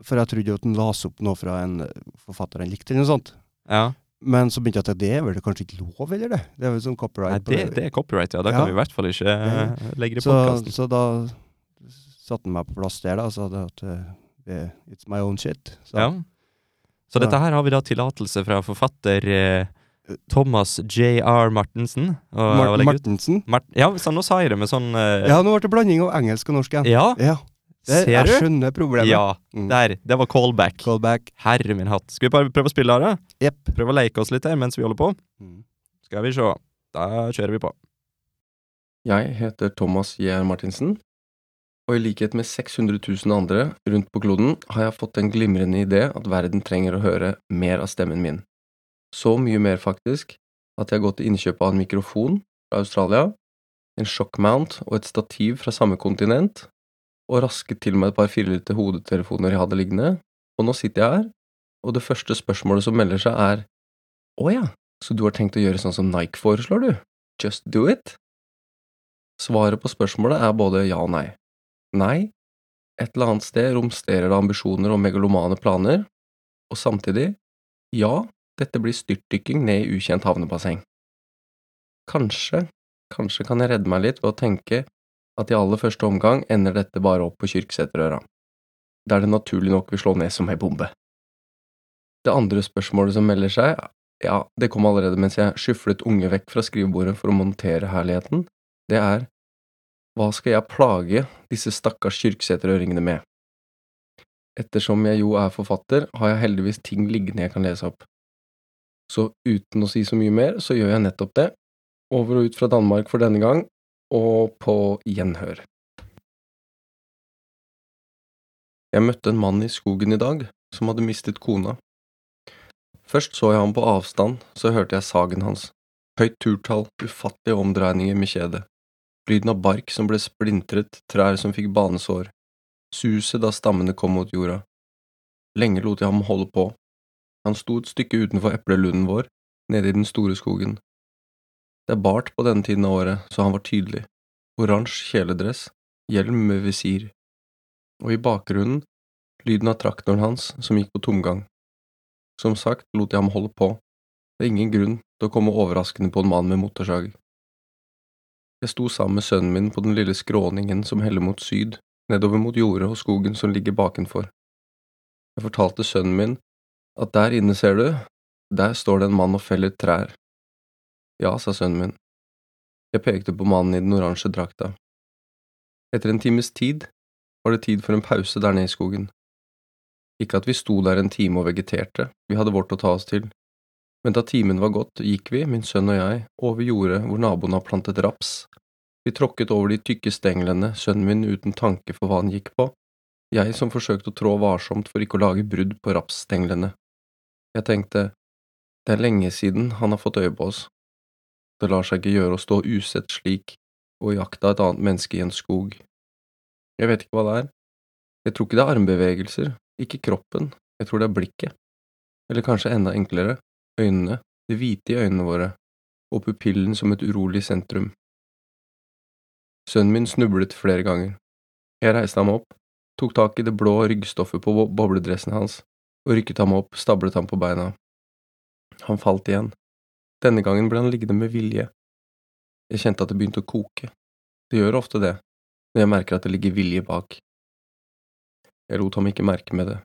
[SPEAKER 1] for jeg trodde jo at han las opp noe fra en forfatter han likte, eller noe sånt.
[SPEAKER 2] ja.
[SPEAKER 1] Men så begynte jeg å tenke det er vel kanskje ikke lov, eller det? Det er vel sånn copyright.
[SPEAKER 2] Nei,
[SPEAKER 1] på
[SPEAKER 2] det, det er copyright, ja. Da
[SPEAKER 1] Ja.
[SPEAKER 2] kan vi i hvert fall ikke eh, legge det i
[SPEAKER 1] så,
[SPEAKER 2] podkasten.
[SPEAKER 1] så da satte han meg på plass der da, og sa det at eh, det- it's my own shit. Så,
[SPEAKER 2] Ja. Så
[SPEAKER 1] Ja.
[SPEAKER 2] dette her har vi da tillatelse fra forfatter eh, Thomas J.R. Martensen. Og,
[SPEAKER 1] Mar
[SPEAKER 2] og legge ut.
[SPEAKER 1] Martensen.
[SPEAKER 2] Mart ja, så nå sa jeg det med sånn eh,
[SPEAKER 1] Ja, nå ble det blanding av engelsk og norsk igjen.
[SPEAKER 2] ja,
[SPEAKER 1] Ja, det,
[SPEAKER 2] ser
[SPEAKER 1] jeg
[SPEAKER 2] du?
[SPEAKER 1] skjønner problemet.
[SPEAKER 2] Ja,
[SPEAKER 1] Mm.
[SPEAKER 2] der. Det var callback.
[SPEAKER 1] Callback.
[SPEAKER 2] Herre min hatt. Skal vi bare prøve å spille av det?
[SPEAKER 1] Jepp.
[SPEAKER 2] Prøve å leke oss litt her mens vi holder på?
[SPEAKER 1] Mm.
[SPEAKER 2] Skal vi se. Da kjører vi på.
[SPEAKER 3] Jeg heter Thomas J.R. Martinsen, og i likhet med 600 000 andre rundt på kloden har jeg fått den glimrende idé at verden trenger å høre mer av stemmen min. Så mye mer faktisk at jeg har gått til innkjøp av en mikrofon fra Australia, en shockmount og et stativ fra samme kontinent, og rasket til meg et par firlete hodetelefoner jeg hadde liggende, og nå sitter jeg her, og det første spørsmålet som melder seg er Å ja, så du har tenkt å gjøre sånn som Nike foreslår, du? Just do it? Svaret på spørsmålet er både ja og nei. Nei, et eller annet sted romsterer det ambisjoner og megalomane planer, og samtidig, ja, dette blir styrtdykking ned i ukjent havnebasseng. Kanskje, kanskje kan jeg redde meg litt ved å tenke at i aller første omgang ender dette bare opp på Kyrksæterøra, der det naturlig nok vil slå ned som ei bombe. Det andre spørsmålet som melder seg, ja, det kom allerede mens jeg skyflet unge vekk fra skrivebordet for å montere herligheten, det er hva skal jeg plage disse stakkars kyrksæterøringene med? Ettersom jeg jo er forfatter, har jeg heldigvis ting liggende jeg kan lese opp. Så uten å si så mye mer, så gjør jeg nettopp det. Over og ut fra Danmark for denne gang, og på gjenhør. Jeg møtte en mann i skogen i dag som hadde mistet kona. Først så jeg ham på avstand, så hørte jeg sagen hans. Høyt turtall, ufattelige omdreininger med kjedet. Lyden av bark som ble splintret, trær som fikk banesår. Suset da stammene kom mot jorda. Lenge lot jeg ham holde på. Han sto et stykke utenfor eplelunden vår, nede i den store skogen. Det er bart på denne tiden av året, så han var tydelig. Oransje kjeledress, hjelm med visir. Og i bakgrunnen lyden av traktoren hans som gikk på tomgang. Som sagt lot jeg ham holde på. Det er ingen grunn til å komme overraskende på en mann med motorsag. Jeg sto sammen med sønnen min på den lille skråningen som heller mot syd, nedover mot jordet og skogen som ligger bakenfor. Jeg fortalte sønnen min at der inne, ser du, der står det en mann og feller trær. Ja, sa sønnen min. Jeg pekte på mannen i den oransje drakta. Etter en times tid var det tid for en pause der nede i skogen. Ikke at vi sto der en time og vegeterte, vi hadde vårt å ta oss til, men da timen var gått, gikk vi, min sønn og jeg, over jordet hvor naboen har plantet raps. Vi tråkket over de tykke stenglene, sønnen min uten tanke for hva han gikk på, jeg som forsøkte å trå varsomt for ikke å lage brudd på rapsstenglene. Jeg tenkte, det er lenge siden han har fått øye på oss. Det lar seg ikke gjøre å stå usett slik og jakte et annet menneske i en skog. Jeg vet ikke hva det er. Jeg tror ikke det er armbevegelser, ikke kroppen, jeg tror det er blikket. Eller kanskje enda enklere, øynene, det hvite i øynene våre, og pupillen som et urolig sentrum. Sønnen min snublet flere ganger. Jeg reiste ham opp, tok tak i det blå ryggstoffet på bo- bobledressen hans og rykket ham opp, stablet ham på beina. Han falt igjen. Denne gangen ble han liggende med vilje. Jeg kjente at det begynte å koke. Det gjør ofte det, når jeg merker at det ligger vilje bak. Jeg lot ham ikke merke med det.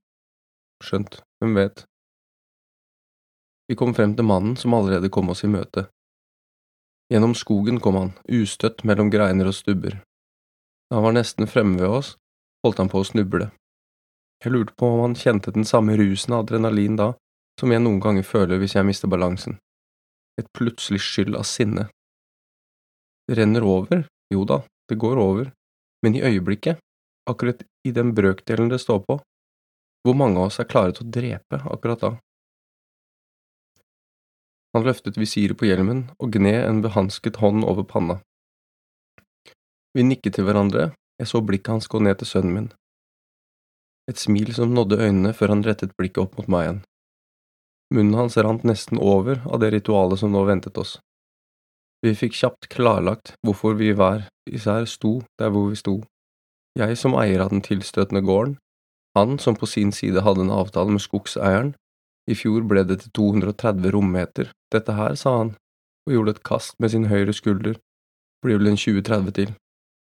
[SPEAKER 3] Skjønt, hvem vet. Vi kom frem til mannen som allerede kom oss i møte. Gjennom skogen kom han, ustøtt mellom greiner og stubber. Da han var nesten fremme ved oss, holdt han på å snuble. Jeg lurte på om han kjente den samme rusen av adrenalin da, som jeg noen ganger føler hvis jeg mister balansen. Et plutselig skyld av sinne. Det renner over, jo da, det går over, men i øyeblikket, akkurat i den brøkdelen det står på, hvor mange av oss er klare til å drepe akkurat da? Han løftet visiret på hjelmen og gned en behansket hånd over panna. Vi nikket til hverandre, jeg så blikket hans gå ned til sønnen min. Et smil som nådde øynene før han rettet blikket opp mot meg igjen. Munnen hans rant nesten over av det ritualet som nå ventet oss. Vi fikk kjapt klarlagt hvorfor vi hver især sto der hvor vi sto. Jeg som eier av den tilstøtende gården, han som på sin side hadde en avtale med skogseieren. I fjor ble det til 230 rommeter, dette her, sa han, og gjorde et kast med sin høyre skulder, blir vel en 20-30 til.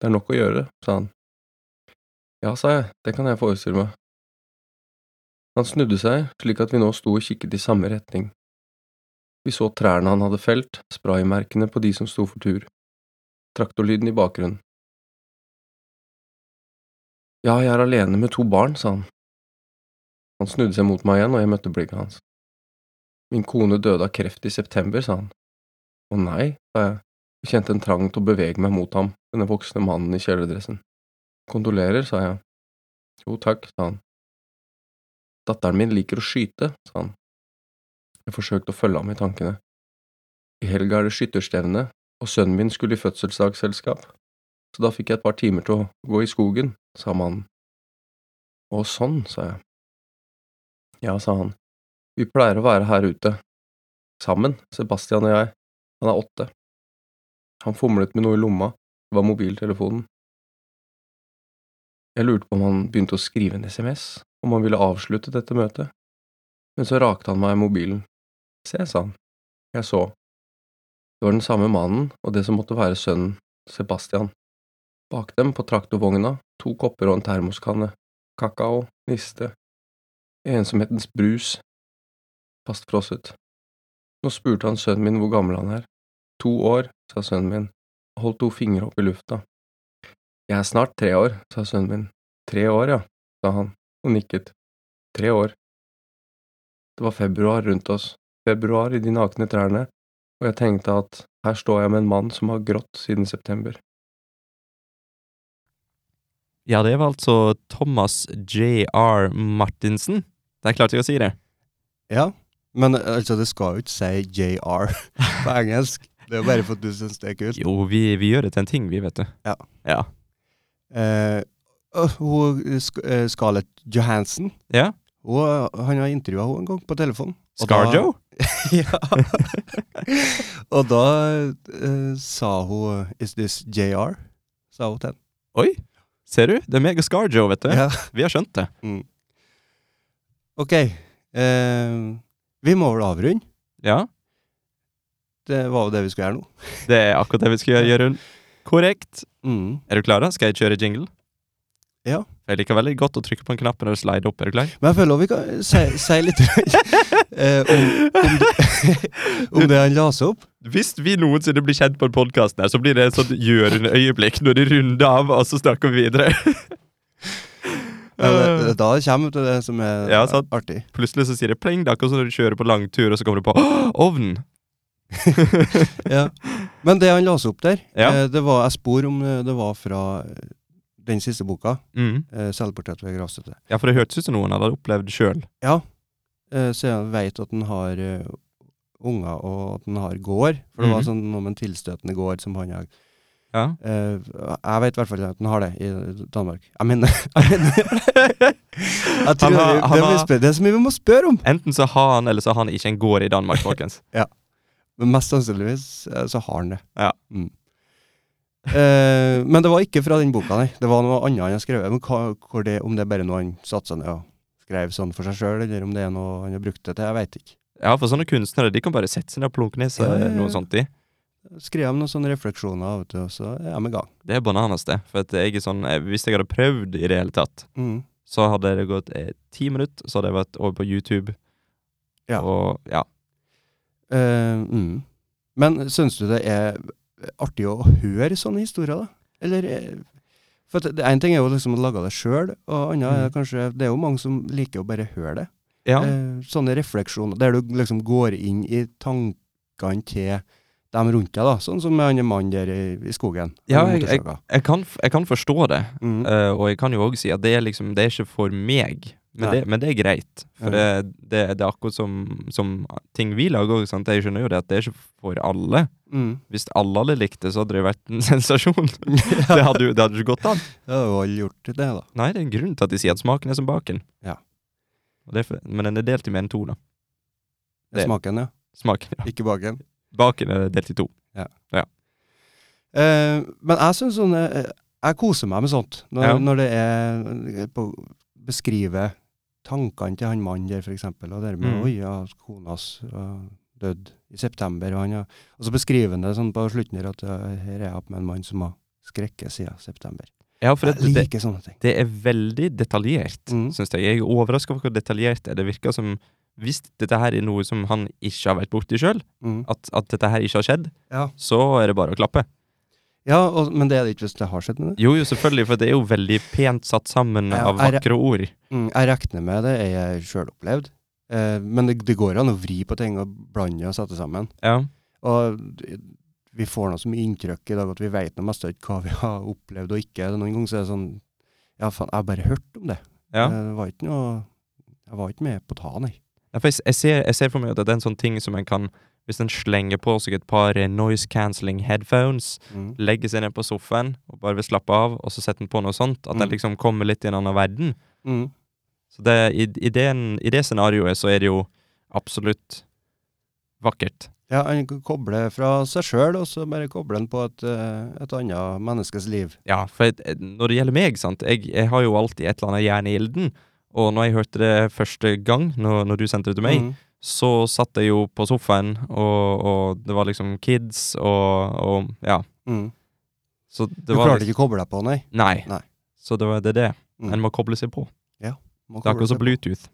[SPEAKER 3] Det er nok å gjøre, sa han. Ja, sa jeg, det kan jeg forestille meg. Han snudde seg slik at vi nå sto og kikket i samme retning. Vi så trærne han hadde felt, spraymerkene på de som sto for tur, traktorlyden i bakgrunnen. Ja, jeg er alene med to barn, sa han. Han snudde seg mot meg igjen, og jeg møtte blikket hans. Min kone døde av kreft i september, sa han. Å nei, sa jeg, jeg kjente en trang til å bevege meg mot ham, denne voksne mannen i kjeledressen. Kondolerer, sa jeg. Jo takk, sa han. Datteren min liker å skyte, sa han. Jeg forsøkte å følge ham i tankene. I helga er det skytterstevne, og sønnen min skulle i fødselsdagsselskap, så da fikk jeg et par timer til å gå i skogen, sa mannen. Å, sånn, sa jeg. Ja, sa han, vi pleier å være her ute. Sammen, Sebastian og jeg, han er åtte. Han fomlet med noe i lomma, det var mobiltelefonen. Jeg lurte på om han begynte å skrive en SMS, om han ville avslutte dette møtet, men så rakte han meg mobilen. Se, sa han. Jeg så. Det var den samme mannen og det som måtte være sønnen, Sebastian. Bak dem, på traktorvogna, to kopper og en termoskanne, kakao, niste, ensomhetens brus, fastfrosset. Nå spurte han sønnen min hvor gammel han er. To år, sa sønnen min, og holdt to fingre opp i lufta. Jeg er snart tre år, sa sønnen min. Tre år, ja, sa han, og nikket. Tre år. Det var februar rundt oss, februar i de nakne trærne, og jeg tenkte at her står jeg med en mann som har grått siden september.
[SPEAKER 2] Ja, det var altså Thomas J.R. Martinsen. Der klarte jeg å si det.
[SPEAKER 1] Ja, men eh, altså, det skal jo ikke si JR på engelsk. Det er jo bare for at du syns det er kult.
[SPEAKER 2] Jo, vi, vi gjør det til en ting, vi, vet du.
[SPEAKER 1] Ja.
[SPEAKER 2] Ja.
[SPEAKER 1] Eh, øh, hun, eh, Sk- eh, Scarlett Johansen
[SPEAKER 2] ja.
[SPEAKER 1] hun, eh, Han har intervjua henne en gang på telefon. Og da-
[SPEAKER 2] Scarjo?
[SPEAKER 1] ja. Og da eh, sa hun 'Is this JR?' sa hun til ham.
[SPEAKER 2] Oi! Ser du? Det er meg og Scarjo, vet du.
[SPEAKER 1] Ja.
[SPEAKER 2] Vi har skjønt det.
[SPEAKER 1] Ok, eh, vi må vel avrunde.
[SPEAKER 2] Ja.
[SPEAKER 1] Det var jo det vi skulle gjøre nå.
[SPEAKER 2] Det er akkurat det vi skal gjøre, Jørund. Korrekt.
[SPEAKER 1] Mm.
[SPEAKER 2] Er du klar? da? Skal jeg kjøre jingle?
[SPEAKER 1] Ja.
[SPEAKER 2] Jeg liker veldig godt å trykke på en knapp når det slider opp. Er du klar?
[SPEAKER 1] Men jeg føler også vi kan si, si litt eh, om, om, det, om det han leser opp.
[SPEAKER 2] Hvis vi noensinne blir kjent på en podkast, så blir det et sånt gjørende øyeblikk når de runder av, og så snakker vi videre.
[SPEAKER 1] Ja, det, det, da kommer vi til det som er
[SPEAKER 2] Ja, sant.
[SPEAKER 1] artig.
[SPEAKER 2] Plutselig så sier det pling, det er akkurat som når du kjører på langtur, og så kommer du på «Åh, ovn!
[SPEAKER 1] Ja. Men det han leser opp der,
[SPEAKER 2] Ja.
[SPEAKER 1] eh, det var jeg spor om eh, det var fra eh, den siste boka,
[SPEAKER 2] Mm.
[SPEAKER 1] eh, 'Selvportrett ved gravstøtte'.
[SPEAKER 2] Ja, for det hørtes ut som noen hadde opplevd sjøl.
[SPEAKER 1] Eh, så jeg veit at han har eh, unger, og at han har gård. For det
[SPEAKER 2] Mhm.
[SPEAKER 1] var sånn noe med en tilstøtende gård som han har
[SPEAKER 2] Ja.
[SPEAKER 1] Eh, jeg vet i hvert fall at den har det i Danmark. Jeg mener, jeg mener jeg tror
[SPEAKER 2] Han har-
[SPEAKER 1] det,
[SPEAKER 2] han
[SPEAKER 1] det, er mye
[SPEAKER 2] har-
[SPEAKER 1] spør, det er så mye vi må spørre om!
[SPEAKER 2] Enten så har han, eller så har han ikke en gård i Danmark, folkens.
[SPEAKER 1] Men mest sannsynligvis eh, så har han det.
[SPEAKER 2] Ja.
[SPEAKER 1] Mm. Eh, men det var ikke fra den boka, nei. Det var noe annet han har skrevet. Men hva, hvor det, om det er bare noe han satte seg ned og skrev sånn for seg sjøl, eller om det er noe han har brukt det til, jeg veit ikke.
[SPEAKER 2] Ja, for sånne kunstnere, de kan bare sette seg ned og plunke ned seg
[SPEAKER 1] Ja, ja, ja.
[SPEAKER 2] noe sånt i.
[SPEAKER 1] Skrev han noen sånne refleksjoner, vet du, og så er vi i gang.
[SPEAKER 2] Det er bananas, det. For at jeg er sånn, eh, hvis jeg hadde prøvd i det hele tatt,
[SPEAKER 1] Mm.
[SPEAKER 2] så hadde det gått eh, ti minutter, så hadde jeg vært over på YouTube.
[SPEAKER 1] Ja.
[SPEAKER 2] Og ja.
[SPEAKER 1] Eh, mm. Men syns du det er artig å høre sånne historier, da? Eller eh, For at det- en ting er jo liksom å lage det sjøl, og annet er
[SPEAKER 2] Mm.
[SPEAKER 1] kanskje Det er jo mange som liker å bare høre det.
[SPEAKER 2] ja.
[SPEAKER 1] Eh, sånne refleksjoner der du liksom går inn i tankene til dem rundt deg, da. Sånn som med han mannen der i, i skogen.
[SPEAKER 2] Ja,
[SPEAKER 1] med
[SPEAKER 2] jeg-
[SPEAKER 1] motorsagene.
[SPEAKER 2] Jeg, kan, f- jeg kan forstå det,
[SPEAKER 1] Mm.
[SPEAKER 2] eh, og jeg kan jo òg si at det er liksom Det er ikke for meg, men, det,
[SPEAKER 1] Nei.
[SPEAKER 2] men det er greit. For det, det, det er akkurat som, som ting vi lager òg, sant. Jeg skjønner jo det at det er ikke for alle.
[SPEAKER 1] mm.
[SPEAKER 2] Hvis alle hadde likt det, så hadde det vært en sensasjon. det hadde jo det hadde ikke gått an.
[SPEAKER 1] Det har jo alle gjort, det, da.
[SPEAKER 2] Nei, det er en grunn til at de sier at smaken er som baken.
[SPEAKER 1] Ja.
[SPEAKER 2] Og det er for, men den er delt i mer enn to, da.
[SPEAKER 1] Det
[SPEAKER 2] Det-
[SPEAKER 1] er smaken, ja.
[SPEAKER 2] Smaken, ja.
[SPEAKER 1] Ikke baken.
[SPEAKER 2] Baken er delt i to.
[SPEAKER 1] Eh, men jeg synes sånn eh, Jeg koser meg med sånt. Når,
[SPEAKER 2] Ja.
[SPEAKER 1] når det er på, Beskriver tankene til han mannen der, for eksempel. Og det med
[SPEAKER 2] Mm.
[SPEAKER 1] Oi, ja, kona hans døde i september. Og, han, har- og så beskriver han det sånn på slutten her at ja, her er jeg opp med en mann som har skrekket siden september.
[SPEAKER 2] Ja, for
[SPEAKER 1] Jeg
[SPEAKER 2] det, det,
[SPEAKER 1] liker sånne ting.
[SPEAKER 2] det er veldig detaljert,
[SPEAKER 1] Mm.
[SPEAKER 2] synes jeg. Jeg er overraska over hvor detaljert det er. Det virker som hvis dette her er noe som han ikke har vært borti sjøl,
[SPEAKER 1] Mm.
[SPEAKER 2] at, at dette her ikke har skjedd,
[SPEAKER 1] Ja,
[SPEAKER 2] så er det bare å klappe.
[SPEAKER 1] ja og, men det er det ikke hvis det har skjedd med det.
[SPEAKER 2] Jo, jo, selvfølgelig, for det er jo veldig pent satt sammen
[SPEAKER 1] Ja,
[SPEAKER 2] av
[SPEAKER 1] er det-
[SPEAKER 2] vakre ord.
[SPEAKER 1] Mm, jeg regner med det, er jeg sjøl opplevd. Eh, men det, det går an å vri på ting og blande og sette sammen.
[SPEAKER 2] Ja.
[SPEAKER 1] Og d- vi får noe så mye inntrykk i dag at vi vet noe mest ikke hva vi har opplevd og ikke. Noen ganger så er det sånn Ja, faen, jeg har bare hørt om det.
[SPEAKER 2] ja.
[SPEAKER 1] Eh, Det var ikke noe Jeg var ikke med på ta, nei.
[SPEAKER 2] Ja, for jeg, s- jeg, ser, jeg ser for meg at det er en sånn ting som en kan Hvis en slenger på seg et par eh, noise cancelling headphones,
[SPEAKER 1] Mm.
[SPEAKER 2] legger seg ned på sofaen og bare vil slappe av, og så setter en på noe sånt, at en
[SPEAKER 1] Mm.
[SPEAKER 2] liksom kommer litt i en annen verden.
[SPEAKER 1] Mm.
[SPEAKER 2] Så det, i, i, den, I det scenarioet så er det jo absolutt vakkert.
[SPEAKER 1] Ja, han k- kobler fra seg sjøl, og så bare kobler han på et, eh, et annet menneskes liv.
[SPEAKER 2] Ja, for jeg, eh, når det gjelder meg, sant jeg, jeg har jo alltid et eller annet jern i ilden. Og når jeg hørte det første gang, når, når du sendte det til meg,
[SPEAKER 1] Mm.
[SPEAKER 2] så satt jeg jo på sofaen, og, og det var liksom kids, og, og ja.
[SPEAKER 1] Mm.
[SPEAKER 2] Så det
[SPEAKER 1] Du
[SPEAKER 2] var
[SPEAKER 1] klarte ikke å koble deg på, nei?
[SPEAKER 2] Nei.
[SPEAKER 1] Nei.
[SPEAKER 2] Så det var det. er det.
[SPEAKER 1] Mm.
[SPEAKER 2] En må koble seg på.
[SPEAKER 1] Må
[SPEAKER 2] Det er
[SPEAKER 1] koble
[SPEAKER 2] akkurat som
[SPEAKER 1] seg på.
[SPEAKER 2] Bluetooth.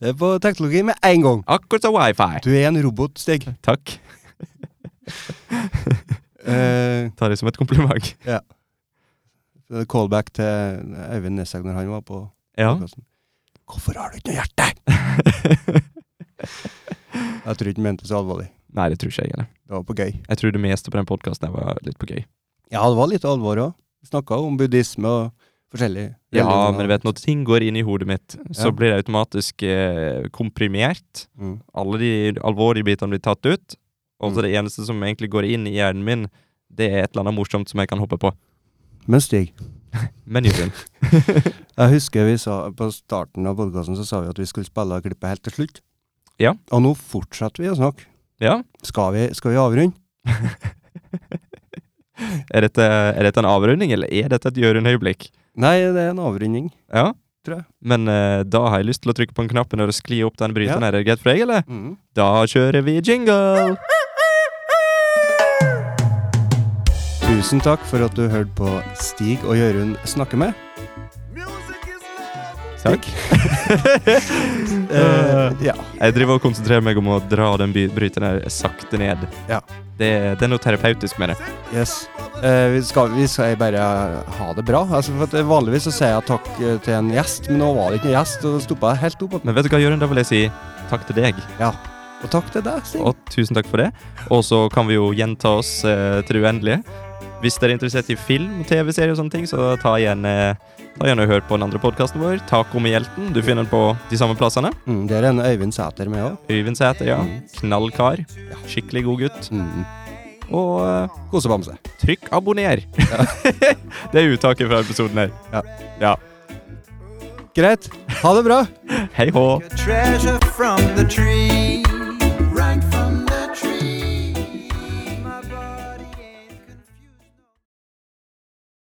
[SPEAKER 1] Det er på teknologi med en gang!
[SPEAKER 2] Akkurat som wifi!
[SPEAKER 1] Du er en robot, Stig.
[SPEAKER 2] Takk.
[SPEAKER 1] Eh,
[SPEAKER 2] Ta det som et kompliment.
[SPEAKER 1] callback til Øyvind Neshaug når han var på
[SPEAKER 2] Ja.
[SPEAKER 1] podcasten. Hvorfor har du ikke noe hjerte?! Jeg tror ikke han mente det så alvorlig.
[SPEAKER 2] Nei, det tror ikke jeg heller.
[SPEAKER 1] Det var på gøy.
[SPEAKER 2] Jeg tror det meste på den podkasten var litt på gøy.
[SPEAKER 1] Ja, det var litt alvor òg. Snakka om buddhisme og forskjellig.
[SPEAKER 2] Ja,
[SPEAKER 1] religioner.
[SPEAKER 2] men vet du, når ting går inn i hodet mitt, så
[SPEAKER 1] Ja.
[SPEAKER 2] blir det automatisk eh, komprimert.
[SPEAKER 1] Mm.
[SPEAKER 2] Alle de alvorlige bitene blir tatt ut. Og
[SPEAKER 1] Mm.
[SPEAKER 2] så det eneste som egentlig går inn i hjernen min, det er et eller annet morsomt som jeg kan hoppe på.
[SPEAKER 1] Men Stig,
[SPEAKER 2] Men Jørgen,
[SPEAKER 1] jeg husker vi sa på starten av podkasten så sa vi at vi skulle spille av klippet helt til slutt.
[SPEAKER 2] Ja.
[SPEAKER 1] Og nå fortsetter vi å snakke.
[SPEAKER 2] ja?
[SPEAKER 1] Skal vi, skal vi avrunde?
[SPEAKER 2] Er dette, er dette en avrunding, eller er dette et Jørund-øyeblikk?
[SPEAKER 1] Nei, det er en avrunding.
[SPEAKER 2] Ja?
[SPEAKER 1] Tror jeg.
[SPEAKER 2] Men eh, da har jeg lyst til å trykke på en knapp når det sklir opp den bryteren. Er det greit for deg, eller?
[SPEAKER 1] Mm.
[SPEAKER 2] Da kjører vi jingle!
[SPEAKER 1] Tusen takk for at du hørte på Stig og Jørund snakke med.
[SPEAKER 2] Takk.
[SPEAKER 1] Eh, ja.
[SPEAKER 2] Jeg driver og konsentrerer meg om å dra den by- bryteren her sakte ned.
[SPEAKER 1] Ja.
[SPEAKER 2] Det, det er noe terapeutisk med det.
[SPEAKER 1] Yes. Eh, vi, skal, vi skal bare ha det bra. Altså, for at eh, vanligvis så sier jeg takk eh, til en gjest, men nå var det ikke en gjest, og det stoppa helt opp. at-
[SPEAKER 2] Men vet du hva, Jørund, da vil jeg si takk til deg,
[SPEAKER 1] Ja. Og takk til deg, Stig.
[SPEAKER 2] og tusen takk for det. Og så kan vi jo gjenta oss eh, til det uendelige. Hvis dere er interessert i film, TV-serier og sånne ting, så ta gjerne, ta gjerne og hør på den andre podkasten vår, 'Taco med hjelten'. Du finner den på de samme plassene.
[SPEAKER 1] Mm, der er en Øyvind Sæter med òg.
[SPEAKER 2] Øyvind Sæter, ja.
[SPEAKER 1] Mm.
[SPEAKER 2] Knallkar. Skikkelig god gutt.
[SPEAKER 1] Mm.
[SPEAKER 2] Og eh,
[SPEAKER 1] Kosebamse.
[SPEAKER 2] trykk 'abonner'. det er uttaket fra episoden her.
[SPEAKER 1] Ja.
[SPEAKER 2] ja.
[SPEAKER 1] Greit. Ha det bra.
[SPEAKER 2] Hei hå.
[SPEAKER 4] treasure from the tree.